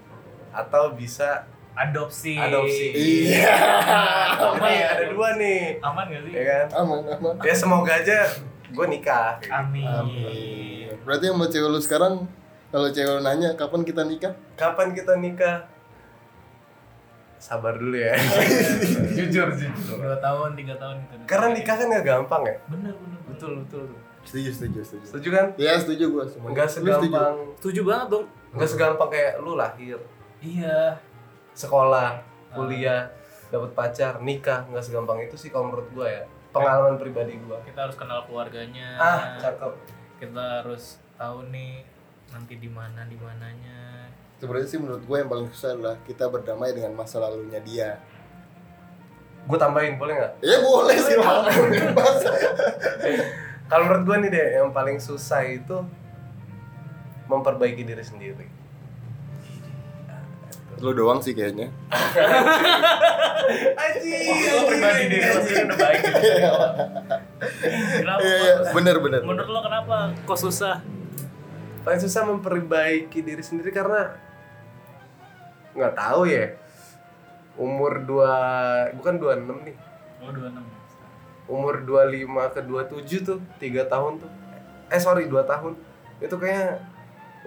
atau bisa adopsi. ya? Adopsi. iya Oke, ya. ada dua nih Aman gak sih? ya kan aman aman ya semoga aja gue nikah Amin. Iya. amin berarti yang mau cewek lu sekarang kalau cewek lu nanya kapan kita nikah kapan kita nikah sabar dulu ya jujur jujur Dua tahun, tiga tahun gitu. karena nikah kan gak gampang ya Bener, bener. Betul. betul setuju setuju setuju setuju kan ya setuju gua semua nggak Lu setuju? segampang Setuju banget dong. nggak segampang kayak lu lahir Iya. sekolah kuliah dapat pacar nikah nggak segampang itu sih kalau menurut gue ya pengalaman pribadi gue Kita harus kenal keluarganya. ah cakep Kita harus tahu nih nanti di mana di mananya. sebenarnya sih menurut gue yang paling susah adalah kita berdamai dengan masa lalunya dia gue tambahin boleh nggak ya boleh sih Bang. bebas kalau menurut gue nih deh yang paling susah itu memperbaiki diri sendiri lu doang sih kayaknya Iya, Anjir. Pribadi diri lo sendiri udah baik. gitu. Kenapa? iya iya bener bener Menurut lo kenapa kok susah? paling susah memperbaiki diri sendiri karena nggak tahu ya umur dua bukan 26 nih Lo 26. umur 25 ke 27 tuh tiga tahun tuh eh sorry dua tahun itu kayaknya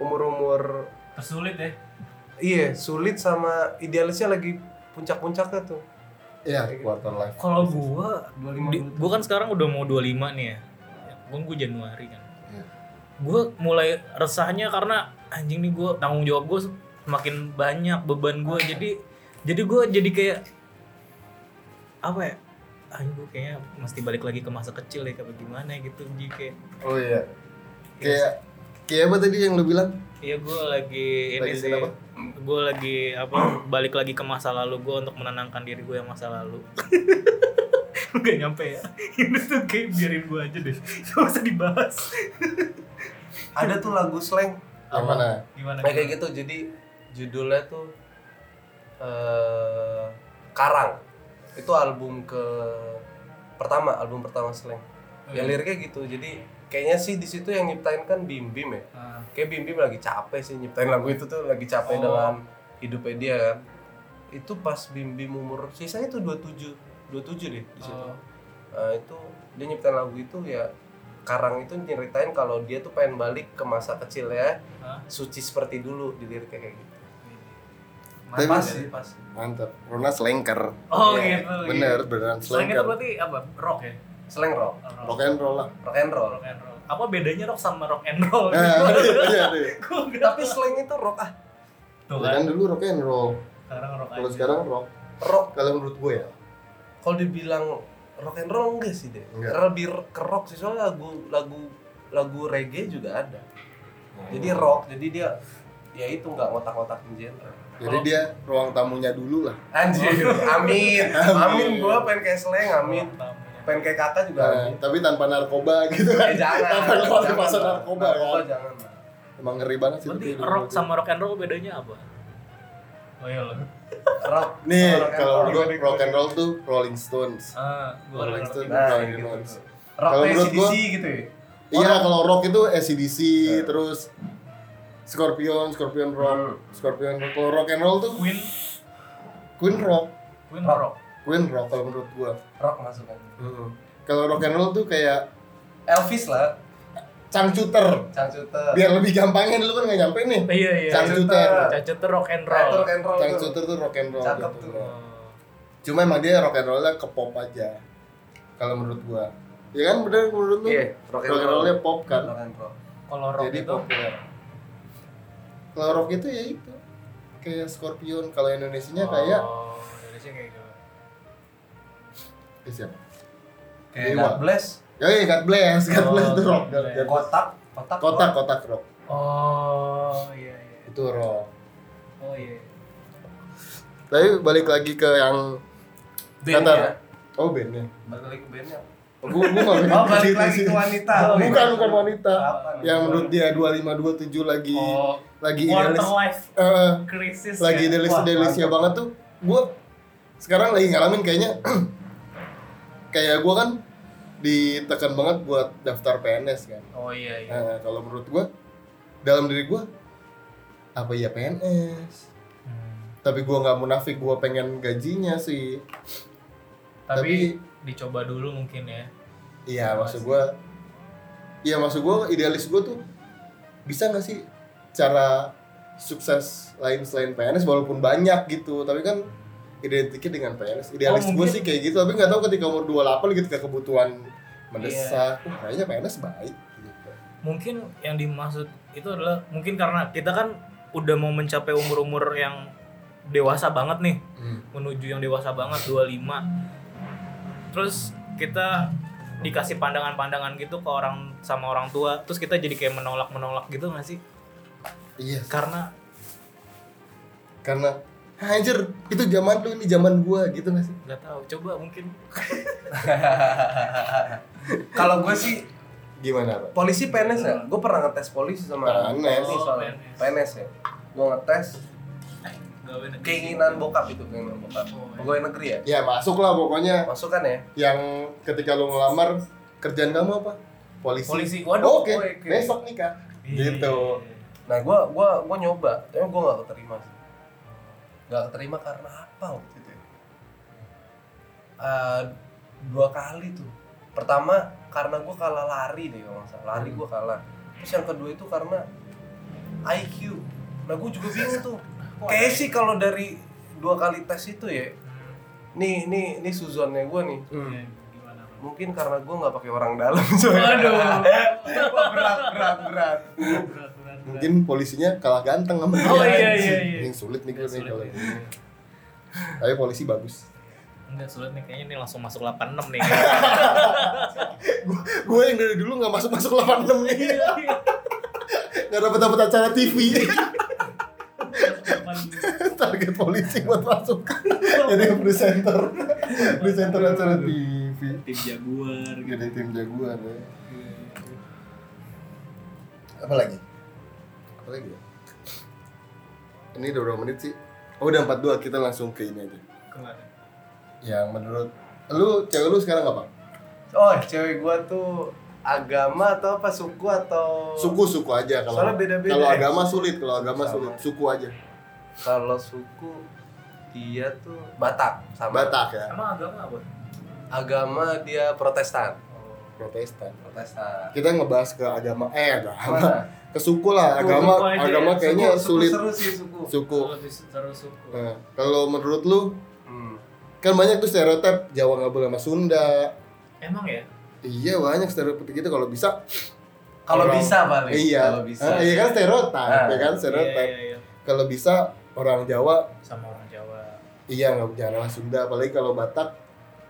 umur-umur Tersulit ya. iya sulit sama idealisnya lagi puncak-puncaknya tuh iya quarter life Kalau gua 25 di, gua kan sekarang udah mau 25 nih ya. Kan gua Januari kan. Gua mulai resahnya karena anjing nih gua tanggung jawab gua semakin banyak beban gua jadi jadi gua jadi kayak apa ya? Anjing gua kayaknya mesti balik lagi ke masa kecil ya kayak gimana gitu jadi kayak oh iya kayak kayak apa tadi yang lu bilang Iya gue lagi ini Lagi sih kenapa? Gue lagi apa balik lagi ke masa lalu gue untuk menenangkan diri gue yang masa lalu Lu Gak nyampe ya Ini tuh kayak biarin gue aja deh Gak usah dibahas ada tuh lagu slang yang mana Gimana? Nah, kayak gitu jadi judulnya tuh eh Karang itu album ke pertama album pertama Slang Oh, ya iya? liriknya gitu jadi kayaknya sih di situ yang nyiptain kan Bim Bim ya Ah. kayak Bim Bim lagi capek sih nyiptain lagu itu tuh lagi capek Oh. dengan hidupnya dia kan itu pas Bim Bim umur sisanya tuh 27 27 deh gitu. di situ Oh. Nah, itu dia nyiptain lagu itu ya Karang itu nyeritain kalau dia tuh pengen balik ke masa kecil ya Hah? suci seperti dulu di liriknya kayak gitu Tapi- pas sih pas mantap Rona selengker Oh Iya, gitu. bener beneran Slang itu selengker berarti apa? Rock ya? slang rock rock and roll lah rock and roll rock and roll. Apa bedanya rock sama rock and roll? Oh, Nah, iya, iya. Gua nggak- tapi slang itu rock ah Tuh kan. Ya kan dulu rock and roll Sekarang rock kalau aja. sekarang rock rock kalau menurut gue ya kalau dibilang rock and roll enggak sih deh Enggak. lebih ke rock sih soalnya lagu lagu lagu reggae juga ada Oh. jadi rock jadi dia ya itu nggak ngotak-ngotakin genre jadi dia ruang tamunya dulu lah anjir amin amin gua pengen kayak slang amin Tamunya. pengen kayak kakak juga Nah, amin tapi tanpa narkoba gitu kan eh jangan Tanpa keluar ke pasar Bang. narkoba kan jangan Bang. emang ngeri banget sih Berarti tapi dulu. rock sama rock and roll bedanya apa? Oh iya lo. rock Nih, rock and kalau roll. menurut gue rock and roll tuh Rolling Stones. Ah, gua Rolling ngerti. Stones, Nah, Rolling gitu. Stones. rock Kalau kayak menurut gua- CDC gitu ya Iya, kalau rock itu ACDC, Iya. terus Scorpion, Scorpion Rock, Scorpion Rock. Kalau rock and roll tuh Queen, Queen Rock, Queen rock. Queen Rock kalau menurut gua. rock masuk kan. aja Kalau rock and roll tuh kayak Elvis lah cangcuter Cangcuter. biar lebih gampangnya dulu kan nggak nyampe nih Iya iya. cangcuter Cacat tuh rock and Nah, itu roll. rock and roll tuh. cangcuter tuh rock and roll Cakep gitu tuh. loh. Oh. cuma emang dia rock and rollnya ke pop aja kalau menurut gua ya kan bener menurut lu Iya, rock and rock and roll. rollnya pop kan Rock and roll. Kalau rock jadi itu populer kalau rock itu ya itu kayak Scorpion kalau Indonesia nya kayak Oh, Indonesia kayak gitu. eh, siapa Kayak Dewa. God Bless, ya iya, God bless God Oh, bless itu rock God God Bless. kotak, kotak. kotak kotak rock Oh, iya iya. itu rock Oh iya. tapi balik lagi ke yang Bandnya. kata oh bandnya Balik lagi ya. ke ya. bandnya. gua gua nggak Oh, pengen balik cerita lagi sih. ke wanita. bukan bukan wanita Apa nih? yang menurut dia 2527 lagi Oh, lagi quarter idealis life Eh, crisis. lagi ya? idealis Wah, idealisnya mantap. banget tuh gue sekarang lagi ngalamin kayaknya kayak gue kan ditekan banget buat daftar PNS kan Oh iya iya. Nah, kalau menurut gue dalam diri gue apa ya PNS Hmm. tapi gue nggak munafik gue pengen gajinya sih Tapi, dicoba dulu mungkin ya. Iya maksud gue Iya maksud gue idealis gue tuh Bisa gak sih cara sukses lain selain PNS walaupun banyak gitu Tapi kan identiknya dengan PNS Idealis Oh, gue mungkin- sih kayak gitu Tapi gak tahu ketika umur 28 ketika gitu, kebutuhan mendesak "Wah, Kayaknya PNS baik gitu Mungkin yang dimaksud itu adalah mungkin karena kita kan udah mau mencapai umur-umur yang dewasa banget nih, Hmm. menuju yang dewasa banget 25. Terus kita dikasih pandangan-pandangan gitu ke orang sama orang tua, terus kita jadi kayak menolak-menolak gitu nggak sih? Iya Karena karena Anjir, itu zaman lu ini zaman gua gitu gak sih? nggak tahu, coba mungkin Kalau gue sih Gimana, Pak? polisi PNS ya. Gue pernah ngetes polisi sama PNS. TNI soalnya. Oh, PNS. PNS ya. Gue ngetes gawe negeri. keinginan bokap itu keinginan bokap. Oh, iya. Pegawai negeri ya. Ya masuk lah pokoknya Masuk kan ya? yang ketika lu ngelamar kerjaan kamu apa? Polisi. polisi. Waduh. Oke, oke. besok nikah. Iya. Gitu. Nah, gue gua gua nyoba, tapi gue gak keterima sih. Gak keterima karena apa waktu itu? ya? Eh, dua kali tuh. Pertama karena gue kalah lari deh kalau nggak salah. Lari gue kalah. Terus yang kedua itu karena IQ. Nah gue juga bingung tuh. Kayaknya sih kalau dari dua kali tes itu ya, nih nih nih suzonnya gue nih. Iya, gimana? Mungkin karena gue nggak pakai orang dalam soalnya. Wah, berat Waduh. berat berat. Berat, berat, berat. mungkin polisinya kalah ganteng sama dia. Oh, iya, iya, iya. Yang sulit nih gue nih Sulit iya. kalau nih. ini. Tapi polisi bagus. Enggak sulit nih kayaknya ini langsung masuk 86 nih. gue yang dari dulu nggak masuk masuk 86 nih. Iya, Nggak dapat dapat acara TV. Target polisi buat masuk. Iya. Jadi presenter, presenter acara TV. Tim Jaguar Gede tim jagoan ya. Apa lagi? Apa lagi ya? Ini udah berapa menit sih? Oh udah 42, kita langsung ke ini aja. Yang Ya, menurut lu cewek lu sekarang apa? Oh, cewek gua tuh agama atau apa suku atau Suku suku aja kalau Soalnya beda-beda kalau ya. agama sulit, kalau agama Sama. sulit, suku aja. Kalau suku dia tuh Batak sama Batak ya, Emang agama apa? agama dia Protestan. Protestan. Protestan. Kita ngebahas ke agama eh agama. Mana? Ke suku lah, Suku, agama suku aja agama ya, kayaknya Suku- suku sulit Seru sih suku. suku. Lebih terus suku. Nah, kalau menurut lu Hmm. kan banyak tuh stereotip Jawa nggak boleh sama Sunda. Emang ya? Iya banyak stereotip gitu kalau bisa Kalau Orang- bisa paling. Iya. Kalau bisa. Ah, iya kan stereotip, Ah, ya kan Iya, stereotip. iya, iya. Kalau bisa orang Jawa, Sama orang Jawa. iya nggak jangan sama Sunda, apalagi kalau Batak.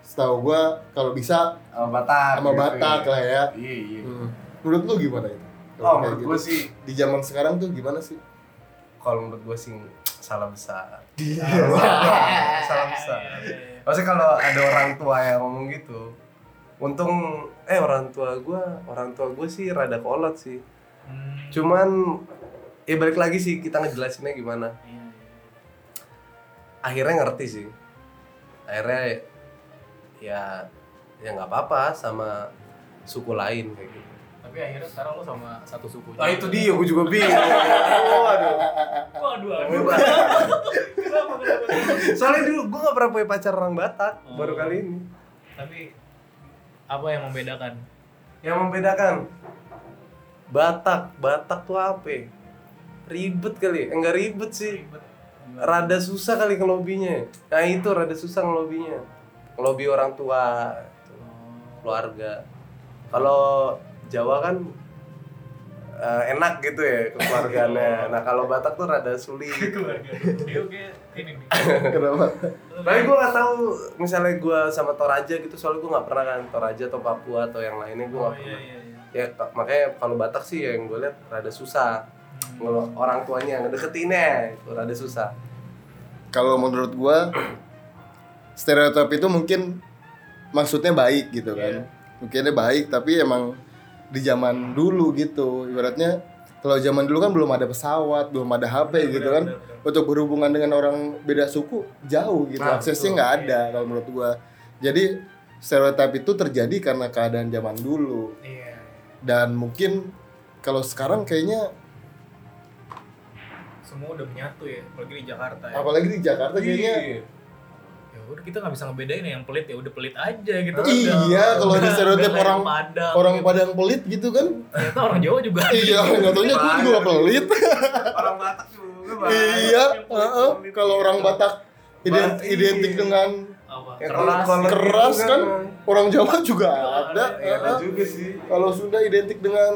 Setahu gua kalau bisa Sama Batak. sama gitu Batak ya. lah ya. Iya, iya. Hmm. Menurut lu gimana itu? Oh, Kalau kayak menurut gitu. gua sih di zaman sekarang tuh gimana sih? kalau menurut gua sih salah besar. Iya. salah besar. Maksudnya kalau ada orang tua yang ngomong gitu, untung eh orang tua gua, orang tua gua sih rada kolot sih. Hmm, Cuman ya balik lagi sih kita ngejelasinnya gimana. iya, Akhirnya ngerti sih. Akhirnya ya ya nggak apa-apa sama suku lain kayak gitu. iya. Tapi akhirnya sekarang lo sama satu suku. Ah itu dia, gua juga bingung. Waduh. Waduh, Namanya aduh. Batak. Kenapa, kenapa, kenapa? Soalnya dulu gua nggak pernah punya pacar orang Batak, Oh. baru kali ini. Tapi apa yang membedakan? Yang membedakan Batak, Batak tuh apa? ya? Ribet kali, ya? enggak ribet sih. Rada susah kali ngelobinya. Nah itu rada susah ngelobinya. Ngelobi orang tua, gitu. keluarga. Kalau Jawa kan eh, enak gitu ya keluarganya. Nah kalau Batak tuh rada sulit. keluarga dia kayak ini nih Kenapa? Tapi gue gak tahu misalnya gue sama Toraja gitu soalnya gue gak pernah kan Toraja atau Papua atau yang lainnya gue oh gak iya pernah. iya iya Ya ta- makanya kalau Batak sih yang gue lihat rada susah. Kalau orang tuanya ngedeketinnya itu rada susah. Kalau menurut gua stereotip itu mungkin maksudnya baik gitu Iya. kan. Mungkinnya baik tapi emang di zaman dulu gitu. Ibaratnya kalau zaman dulu kan belum ada pesawat, belum ada HP Iya, gitu kan. Untuk berhubungan dengan orang beda suku jauh gitu. Nah, Aksesnya betul. nggak ada kalau menurut gua. Jadi stereotip itu terjadi karena keadaan zaman dulu. iya dan mungkin kalau sekarang kayaknya semua udah menyatu ya apalagi di Jakarta Iya. ya apalagi di Jakarta kayaknya ya udah kita nggak bisa ngebedain ya, yang pelit ya udah pelit aja gitu Iya, kalau di stereotip orang- Padang, orang gitu. Padang pelit gitu kan ternyata orang Jawa juga iya nggak taunya gue juga pelit Orang Batak juga iya heeh. kalau orang Batak ident- Batak, iya. identik dengan apa Ya, keras kalau- keras juga kan. kan orang Jawa juga ada Ada, Ya, ada heeh. juga sih. kalau Sunda identik dengan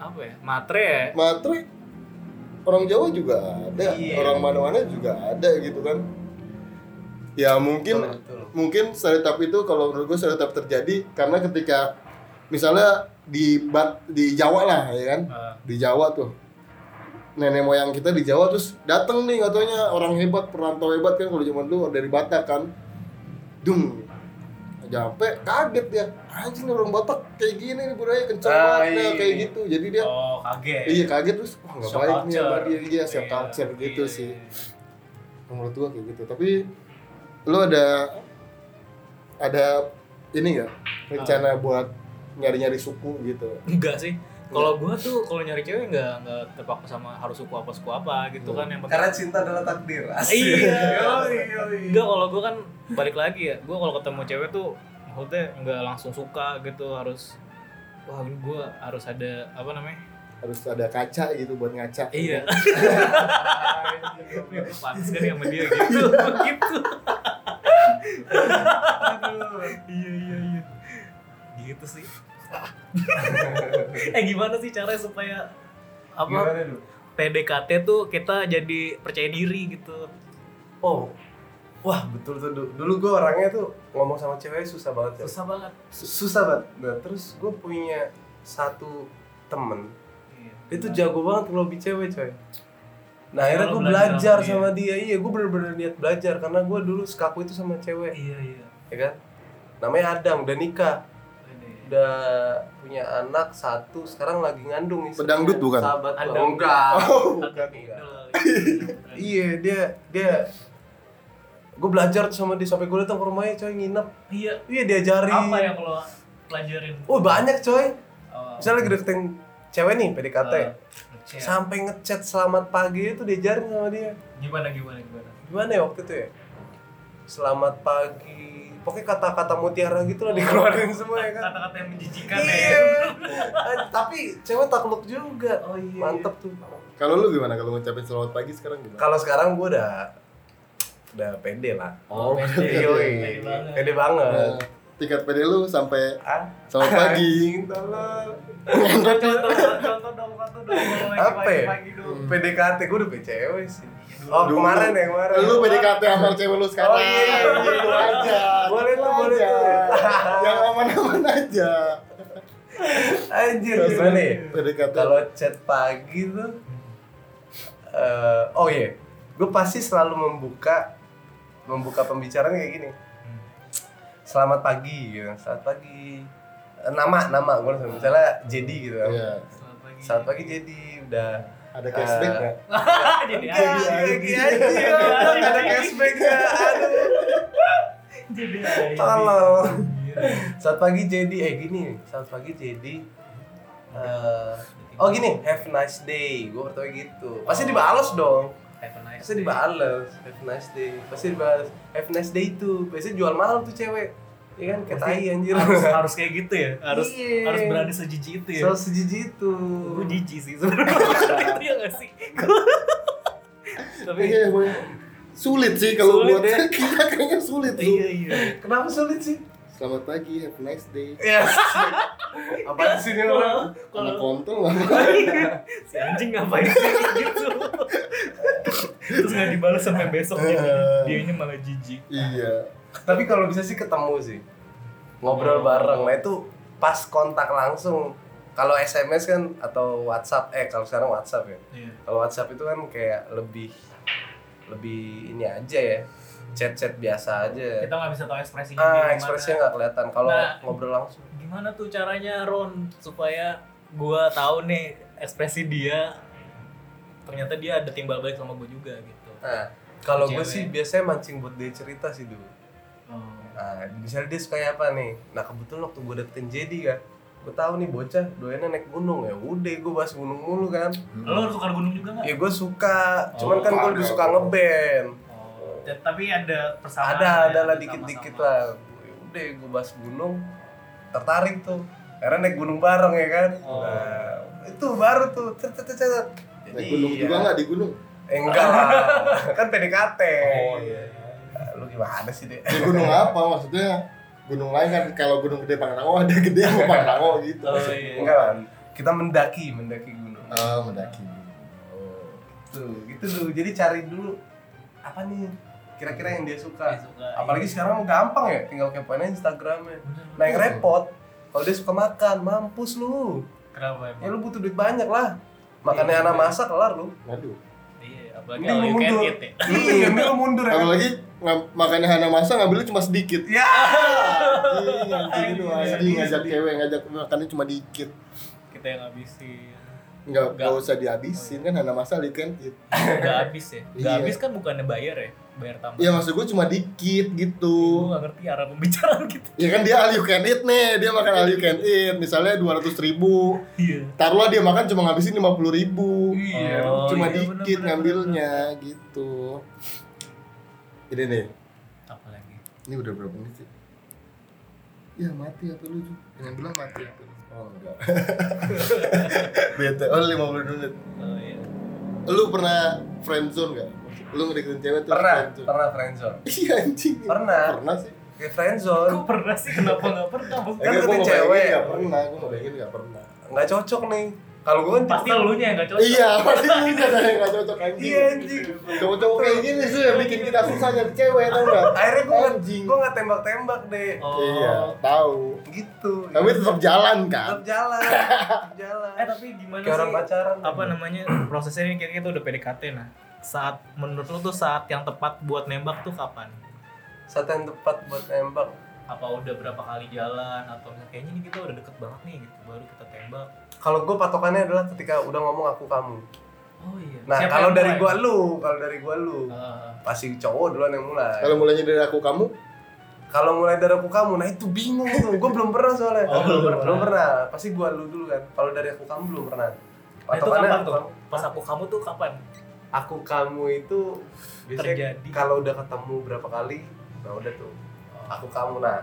apa ya matre ya matre orang Jawa juga ada Iya. orang mana-mana juga ada gitu kan ya mungkin Betul, betul. mungkin stereotip itu kalau menurut gue stereotip terjadi karena ketika misalnya di bat di Jawa lah ya kan Ah. di Jawa tuh nenek moyang kita di Jawa terus datang nih katanya orang hebat perantau hebat kan kalau zaman dulu dari Batak kan dung sampai kaget ya anjing nih orang Batak kayak gini nih budaya kencang Ah, banget nah, iya. kayak gitu jadi dia oh kaget Iya kaget terus wah nggak Shock baik nih sama culture. dia iya shock Iya, culture gitu iya, sih iya. menurut gua kayak gitu tapi lo ada ada ini nggak rencana buat nyari-nyari suku gitu enggak sih Iya. kalau gua tuh kalau nyari cewek nggak nggak terpaku sama harus suku apa suku apa gitu kan yang penting Karena cinta adalah takdir. asik. Iya. Yoi, yoi. Enggak kalau gue kan balik lagi ya. Gue kalau ketemu cewek tuh maksudnya nggak langsung suka gitu harus wah ini gue harus ada apa namanya? harus ada kaca gitu buat ngaca Iya. Pantes kan sama dia gitu. gitu. Iya iya iya. Gitu sih. eh gimana sih caranya supaya apa Gimana lu? PDKT tuh kita jadi percaya diri gitu. Oh, wah betul tuh Du. dulu gue orangnya tuh ngomong sama cewek susah banget ya. Susah banget. Su- susah banget nah terus gue punya satu temen Iya. dia tuh jago banget ngelobi cewek coy nah akhirnya Kalau gue belajar belajar sama sama dia iya gue bener-bener niat belajar karena gue dulu sekaku itu sama cewek Iya iya. ya kan namanya Adam udah nikah udah punya anak satu sekarang lagi ngandung istrinya. Pedangdut bukan? Oh, sahabat gua. Adam. enggak Agak enggak. idol. iya dia dia gue belajar tuh sama dia sampai gue datang ke rumahnya coy nginep Iya. iya diajarin apa yang lo pelajarin oh banyak coy Oh, misalnya lagi deketin cewek nih PDKT eh, ngechat. sampai ngechat selamat pagi itu diajarin sama dia gimana gimana gimana gimana ya waktu itu ya selamat pagi pokoknya kata-kata mutiara gitu lah dikeluarin semua ya kan Oh. kata-kata yang menjijikan ya. iya Eh, tapi cewek takluk juga Oh, iya. mantep tuh kalau lu gimana kalau ngucapin selamat pagi sekarang gimana kalau sekarang gue udah udah pede lah oh pede. Iya, pede. iya. Pede banget. Oh. pede banget Nah, tingkat pede lu sampai Ah, selamat pagi anjing, tolol. ya contoh contoh dong contoh dong Apa ya? pagi dong PDKT gue udah PCW sih Iya, Oh Dulu. kemarin ya kemarin lu PDKT sama cewek lu sekarang Oh, iya. gitu aja Boleh gitu tuh, boleh aja. tuh. yang aman-aman aja Anjir Terus gimana ya? PDKT Kalau chat pagi tuh eh, Oh iya Gue pasti selalu membuka Membuka pembicaraan kayak gini Selamat pagi gitu Selamat pagi Eh, Nama, nama gue langsung Misalnya Jadi gitu kan Iya. Selamat pagi. Selamat pagi Jadi Udah ada cashback Eh, nggak Ah, jadi Jadi aja lagi aja nggak Ada cashback ya. nggak? Aduh jadi aja. Tolol Iya. Saat pagi jadi eh gini, saat pagi jadi eh, oh gini, have nice day. Gue pertama gitu. Pasti dibales dong. Have a nice Pasti dibales. Have nice day. Pasti dibales. Have nice day itu. Biasanya jual mahal tuh cewek. Iya kan kayak tai anjir. harus, harus kayak gitu ya harus Iya. harus berani sejijik itu ya So sejiji itu. gue jijik sih sebenarnya itu ya nggak sih Gua- tapi Iya, gue sulit sih kalau Sulit buat ya. kita kayaknya sulit tuh. iya iya Kenapa sulit sih? Selamat pagi, have a nice day. Yes. Apaan sih ini orang? Kalau- Kalau kalau kontol nggak si anjing ngapain sih gitu terus nggak dibalas sampai besoknya Eh. dia ini malah jijik Iya. Tapi kalau bisa sih ketemu sih. Ngobrol bareng. Nah itu pas kontak langsung. Kalau SMS kan atau WhatsApp eh kalau sekarang WhatsApp ya. Iya. Kalau WhatsApp itu kan kayak lebih lebih ini aja ya. Chat-chat biasa aja. kita nggak bisa tahu ekspresinya Ah, gimana. ekspresinya nggak kelihatan kalau Nah. ngobrol langsung. gimana tuh caranya Ron supaya gua tahu nih ekspresi dia ternyata dia ada timbal balik sama gua juga gitu Nah, kalau gue Cewek. sih biasanya mancing buat dia cerita sih dulu. oh. Nah, misalnya dia suka apa nih? Nah, kebetulan waktu gue deketin Jedi kan, gue tahu nih bocah doyannya naik gunung ya. Udah, gue bahas gunung mulu kan. lo suka gunung juga nggak Ya gue suka, cuman kan gue Oh, lebih ada. suka ngeband. oh. dan- tapi ada Ada, persamaan ya, ada lah sama-sama. dikit-dikit lah. Ya Udah, gue bahas gunung, tertarik tuh. Karena naik gunung bareng ya kan. Oh. Nah, itu baru tuh. Cet, cet, cet, cet. ya. Iya. Naik gunung juga nggak di gunung? Eh, enggak lah. kan PDKT. oh iya Ah, Lu gimana sih, Dek? Di gunung apa maksudnya? Gunung lain kan kalau gunung gede Pangrango ada gede sama Pangrango gitu. Oh, iya. Enggak, Wan. kita mendaki, mendaki gunung. Ah, mendaki. Oh, Tuh, gitu tuh. Jadi cari dulu apa nih kira-kira yang dia Dia suka. suka, iya. Apalagi sekarang gampang ya, tinggal kepoin aja Instagramnya. Bener. Nah, yang repot kalau dia suka makan, mampus lu. kenapa Ya emang lu butuh duit banyak lah. Makannya anak masa kelar lu. Waduh. iya apalagi Mending kalau lu you can mundur. eat ya Iya, mending lu mundur ya. kan? Apalagi ngam- makannya Hana Masa ngambilnya cuma sedikit. Ya. Iya, Anjing, anjing itu anjing Sedih, ngajak sedih. cewek ngajak makannya cuma dikit. kita yang habisin Nggak, nggak Nggak. usah dihabisin kan Hana Masa di kan it. udah habis ya udah Iya. habis kan bukannya bayar ya bayar tambah Ya maksud gue cuma dikit gitu. gue gak ngerti arah pembicaraan kita Ya kan dia all you can eat nih, dia makan all you can eat. Misalnya 200 ribu, iya taruhlah dia makan cuma ngabisin 50 ribu. Iya. Oh, cuma iya, dikit bener-bener, ngambilnya gitu. Ini nih, apa lagi ini udah berapa menit sih? Ya mati apa lu Ju? Jangan bilang mati apa lu. Oh enggak. Bete, oh 50 menit. oh iya Lu pernah friendzone gak? Lu ngedeketin cewek tuh Pernah, friendzone. pernah friendzone. Iya anjing. Pernah. Pernah sih. Kayak friendzone. Kok pernah sih? Kenapa gak pernah? Maksudnya Kan Eh, gua deketin ngebayangin cewek. Gak pernah, gue ngebayangin gak pernah. Nggak cocok nih. Kalau gue kan pasti elunya yang gak cocok Iya, pasti lu ada yang gak cocok anjing. Iya anjing. Cowok-cowok kayak gini sih yang bikin kita susah nyari cewek tau gak? Akhirnya gue nggak Anjing. gue nggak tembak-tembak deh. Oh. Iya, tahu. Gitu. Tapi tetap jalan kan? tetap jalan tetap jalan Eh tapi gimana kayak orang sih? pacaran Apa namanya? Prosesnya ini kayaknya tuh udah PDKT nah. Saat menurut lu tuh saat yang tepat buat nembak tuh kapan? saat yang tepat buat nembak Apa udah berapa kali jalan atau kayaknya ini kita udah deket banget nih gitu baru kita tembak. kalau gue patokannya adalah ketika udah ngomong aku kamu Oh iya. nah Siapa kalau yang dari mulai? gua lu kalau dari gua lu Ah, pasti cowok duluan yang mulai Kalau mulainya dari aku kamu, kalau mulai dari aku kamu nah itu bingung tuh gue belum pernah soalnya Oh, belum pernah. belum pernah pasti gua lu dulu kan kalau dari aku kamu belum pernah nah, itu kapan aku tuh? kamu. Pas aku kamu tuh kapan? aku kamu itu biasanya Terjadi. Oh. kalau udah ketemu berapa kali nah udah tuh aku kamu nah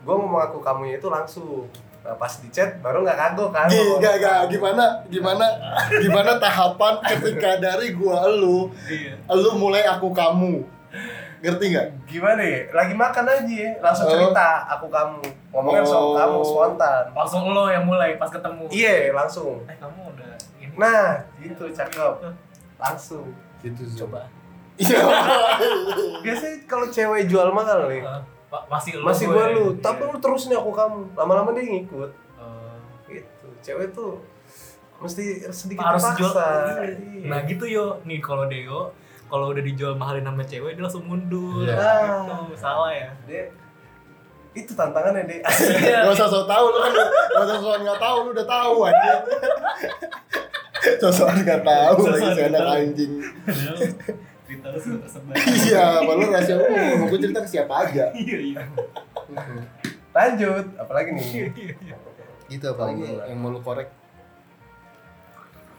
gue ngomong aku kamunya itu langsung nah, pas di chat baru nggak kagok kan Gi- ngomong gak, gak, gimana, gimana, gimana tahapan ketika dari gua lu, Iya. lu mulai aku kamu, ngerti nggak? gimana ya lagi makan aja ya langsung Oh. cerita aku kamu ngomongin soal Oh. kamu spontan Langsung lo yang mulai pas ketemu. iya langsung Eh kamu udah ini. nah gitu cakep langsung Gitu sih. Coba. Iya. biasanya kalau cewek jual mahal nih Ah, pa- masih lu masih gue lu Iya. tapi lu terus nih aku kamu lama-lama dia ngikut Ah. gitu cewek tuh mesti sedikit harus terpaksa. jual Gitu, Iya. nah gitu yo nih kalau Deo kalau udah dijual mahalin sama cewek dia langsung mundur Iya. Ah. Gitu, salah ya Dek, itu tantangannya dek Gak usah so tau, lu kan gak usah so gak tau, lu udah tau aja. Sosokan gak tau, lagi Sosokan seenak nggak tahu. anjing. Padahal cerita lu sudah tersebar Iya, padahal rahasia umum, aku cerita ke siapa aja. iya iya lanjut apalagi Iya, nih iya, iya. Gitu apalagi yang mau lu korek.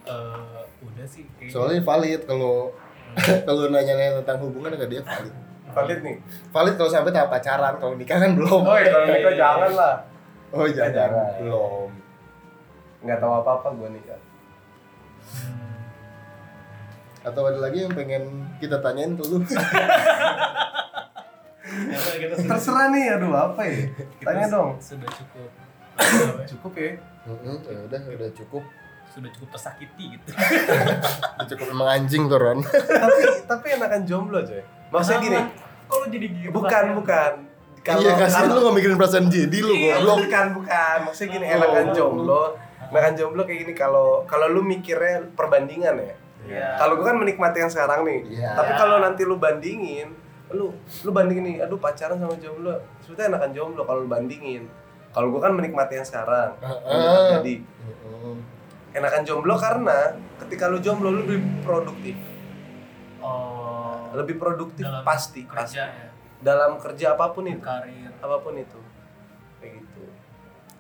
Eh, udah sih kayaknya. Soalnya valid kalau kalau nanya-nanya tentang hubungan agak dia valid. valid nih valid kalau sampai tahap pacaran kalau nikah kan belum oh kalau nikah jangan lah oh jangan Jangan. belum nggak tahu apa apa gue nikah Hmm, atau ada lagi yang pengen kita tanyain ke lu kita sudah, terserah nih aduh apa ya kita tanya su- dong Sudah cukup cukup ya Mm-mm, ya udah udah cukup sudah cukup tersakiti gitu. Udah cukup emang anjing tuh Ron tapi tapi enakan jomblo coy maksudnya gini Kalau jadi gitu. bukan ya. bukan kalau iya kasih kalau- lu nggak mikirin perasaan jadi lu Iya, goblok bukan bukan maksudnya gini enakan jomblo enakan jomblo kayak gini kalau kalau lu mikirnya perbandingan ya kalau gue kan menikmati yang sekarang nih Iya. tapi kalau nanti lu bandingin lu lu bandingin nih aduh pacaran sama jomblo sebetulnya enakan jomblo kalau lu bandingin kalau gue kan menikmati yang sekarang Heeh. jadi Mm-mm. enakan jomblo karena ketika lu jomblo lu lebih produktif Oh. lebih produktif Dalam pasti pasti kerja ya, dalam kerja apapun itu karir. apapun itu kayak gitu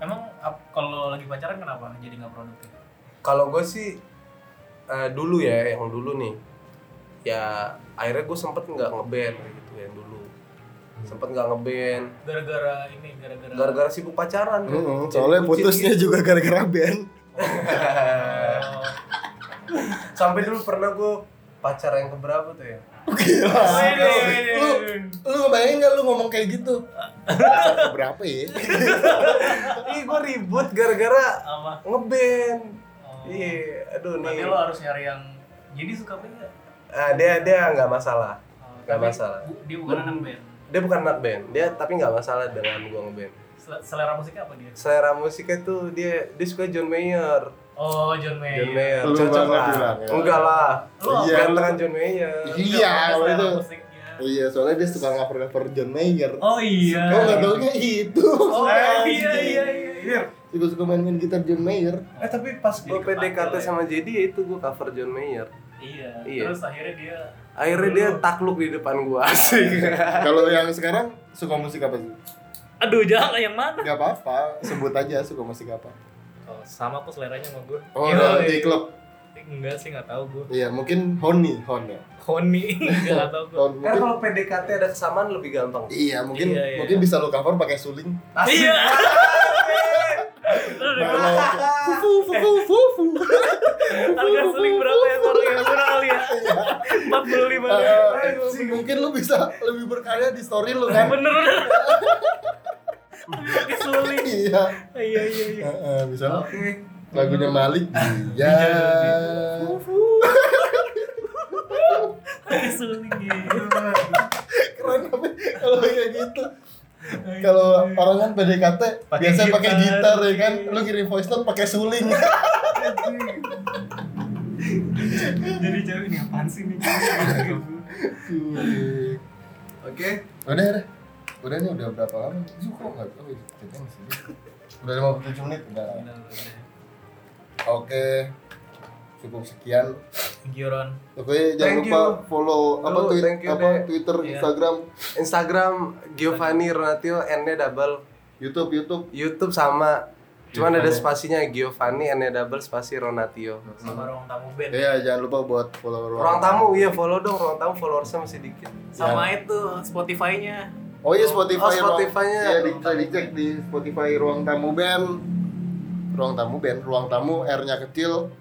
Emang ap- kalau lagi pacaran kenapa jadi nggak produktif? kalau gue sih eh, dulu ya yang dulu nih ya akhirnya gue sempet nggak ngeband kayak gitu yang dulu Hmm. sempet nggak ngeband Gara-gara ini, gara-gara. gara-gara sibuk pacaran Hmm, kan. Mm-mm, Jadi soalnya bucin putusnya gitu. juga gara-gara band Oh. sampai dulu pernah gue pacar yang keberapa tuh ya lu lu ngebayangin nggak lu ngomong kayak gitu berapa ya ih gue ribut gara-gara Apa? ngeband Oh. iya aduh Berarti nih lo harus nyari yang jadi suka band nggak? Ah, dia dia nggak masalah Oh, Nggak tapi masalah. bu- Dia bukan Men- anak band. dia bukan anak band dia tapi nggak masalah dengan gue ngeband Sel- Selera musiknya apa dia? selera musiknya tuh dia dia suka John Mayer Oh, John Mayer. John Mayer Lu cocok banget lah bilang, ya. enggak lah Lu Iya. Ganteng kan John Mayer iya kalau selera itu musiknya. iya soalnya dia suka cover cover John Mayer Oh iya. Oh nggak taunya itu Oh iya iya iya. iya. Suka-suka main-main gitar John Mayer eh tapi pas gue Jadi kepanggil PDKT ya. sama JD ya itu gue cover John Mayer Iya. Iya. Terus akhirnya dia akhirnya dia takluk di depan gue asik Kalau yang sekarang suka musik apa sih? Aduh, jangan yang mana? Gak apa-apa, sebut aja suka musik apa Oh, sama kok seleranya sama gue. Oh Iya, udah, iya. di klub Enggak sih, enggak tahu gue. Iya mungkin Honi, Hon ya Honi, enggak tahu gue. Hon karena mungkin kalau PDKT ada kesamaan lebih gampang Iya mungkin Eh, Iya, iya. mungkin bisa lu cover pakai suling Iya. Kalau Fufu, fufu, fufu. Harga seling berapa ya sekarang ya? Murah kali ya. 45 lima. Eh, Mungkin lu bisa lebih berkarya di story lu kan Iya. Bener bener. Tapi pakai suling. Iya Iya iya iya. Eh, eh, Bisa oke. lagunya Malik Iya Pakai suling gitu. Keren apa kalau kayak gitu kalau orang kan PDKT biasanya pakai gitar ya kan lu kirim voice note pakai suling Jadi cewek ini apaan sih nih? oke udah udah udah nih udah berapa lama Kok nggak tahu ya, kita yang sini. udah 57 menit udah oke cukup sekian Thank you, Ron. Oke, jangan Thank lupa you. follow apa Lu, tweet, thank you, Dek. apa Twitter, Iya. Instagram, Instagram Giovanni Ronatio N-nya double YouTube, YouTube. YouTube sama cuman ada Giovanni. spasinya Giovanni N-nya double spasi Ronatio Sama ruang tamu band. Iya, jangan lupa buat follow Ruang tamu, iya follow dong ruang tamu followersnya masih dikit. Sama ya. itu Spotify-nya. Oh iya Spotify. Oh, Ruang- Spotify-nya. Iya, di- bisa dicek di Spotify Ruang Tamu Band. Ruang Tamu Band, Ruang Tamu R-nya kecil,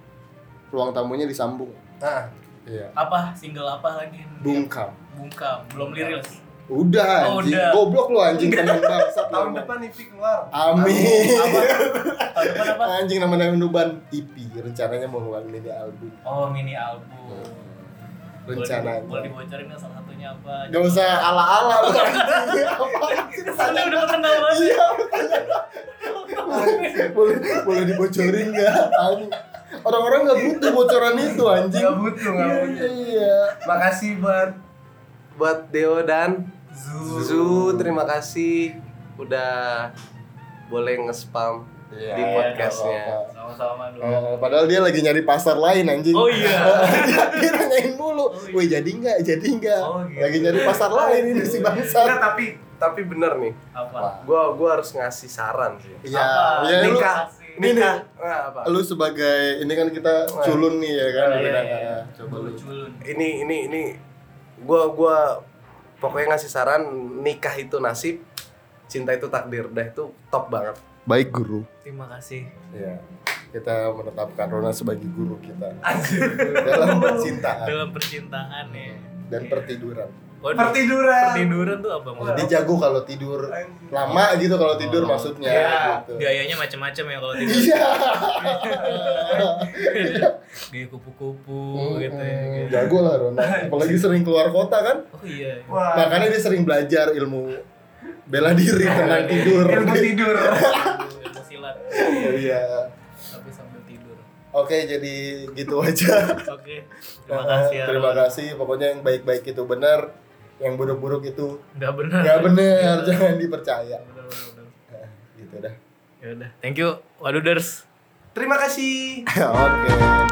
ruang tamunya disambung. Nah, Iya. Apa single apa lagi? Bungkam. Bungkam, belum lirilis. Udah Oh, anjing, udah. goblok lu anjing temen bangsa. tahun depan IP keluar. Amin. Tahun depan apa? Anjing namanya Nuban EP, rencananya mau ngeluarin mini album. Oh, mini album. Boleh di- Rencananya. Boleh dibocorin nggak salah satunya apa? Gak usah ala-ala lu anjing. Apaan sih? Soalnya udah kenal banget. Iya. boleh boleh dibocorin nggak? Anjing. Orang-orang nggak butuh bocoran itu anjing. Gak butuh, gak butuh. Iya. Makasih buat buat Deo dan Zu. terima kasih udah boleh nge-spam di podcastnya. Sama-sama dulu. Iya, Eh, padahal dia lagi nyari pasar lain anjing. Oh iya. dia, dia nanyain mulu. Wih jadi nggak? Jadi nggak? iya. Oh, iya. gitu. Lagi nyari pasar lain ini Iya. si Enggak, bangsa. tapi tapi bener nih. Apa? Gua gua harus ngasih saran sih. Ah, Iya. Apa? Iya lu. Nikah, Ini nikah. Nah, apa? Lu sebagai ini kan kita culun nih ya kan. Oh, Iya, Beda- iya. Coba lu. culun. ini ini ini gua gua pokoknya ngasih saran nikah itu nasib cinta itu takdir dah itu top banget Baik guru. Terima kasih. Iya. Kita menetapkan Rona sebagai guru kita anjir dalam percintaan Dalam percintaan ya. dan pertiduran. Waduh, pertiduran Oh, pertiduran tuh apa maksudnya? Jadi jago kalau tidur lama gitu kalau tidur Oh. maksudnya. Iya. Gitu. Gayanya macam-macam ya kalau tidur. Iya. Gaya kupu-kupu Hmm, gitu ya. hmm, gitu. Jago lah Rona. Apalagi sering keluar kota kan. Oh iya. Wah. Makanya dia sering belajar ilmu bela diri tenang Iya, tidur. ilmu tidur Ilmu silat Iya. tapi sambil tidur. Oke, jadi gitu aja. Oke. Terima kasih ya. Terima kasih. Pokoknya yang baik-baik itu benar, yang buruk-buruk itu Enggak benar. nggak benar, jangan dipercaya. Benar, benar, benar. Nah, gitu dah. Ya udah. Thank you. Waduders. terima kasih Oke.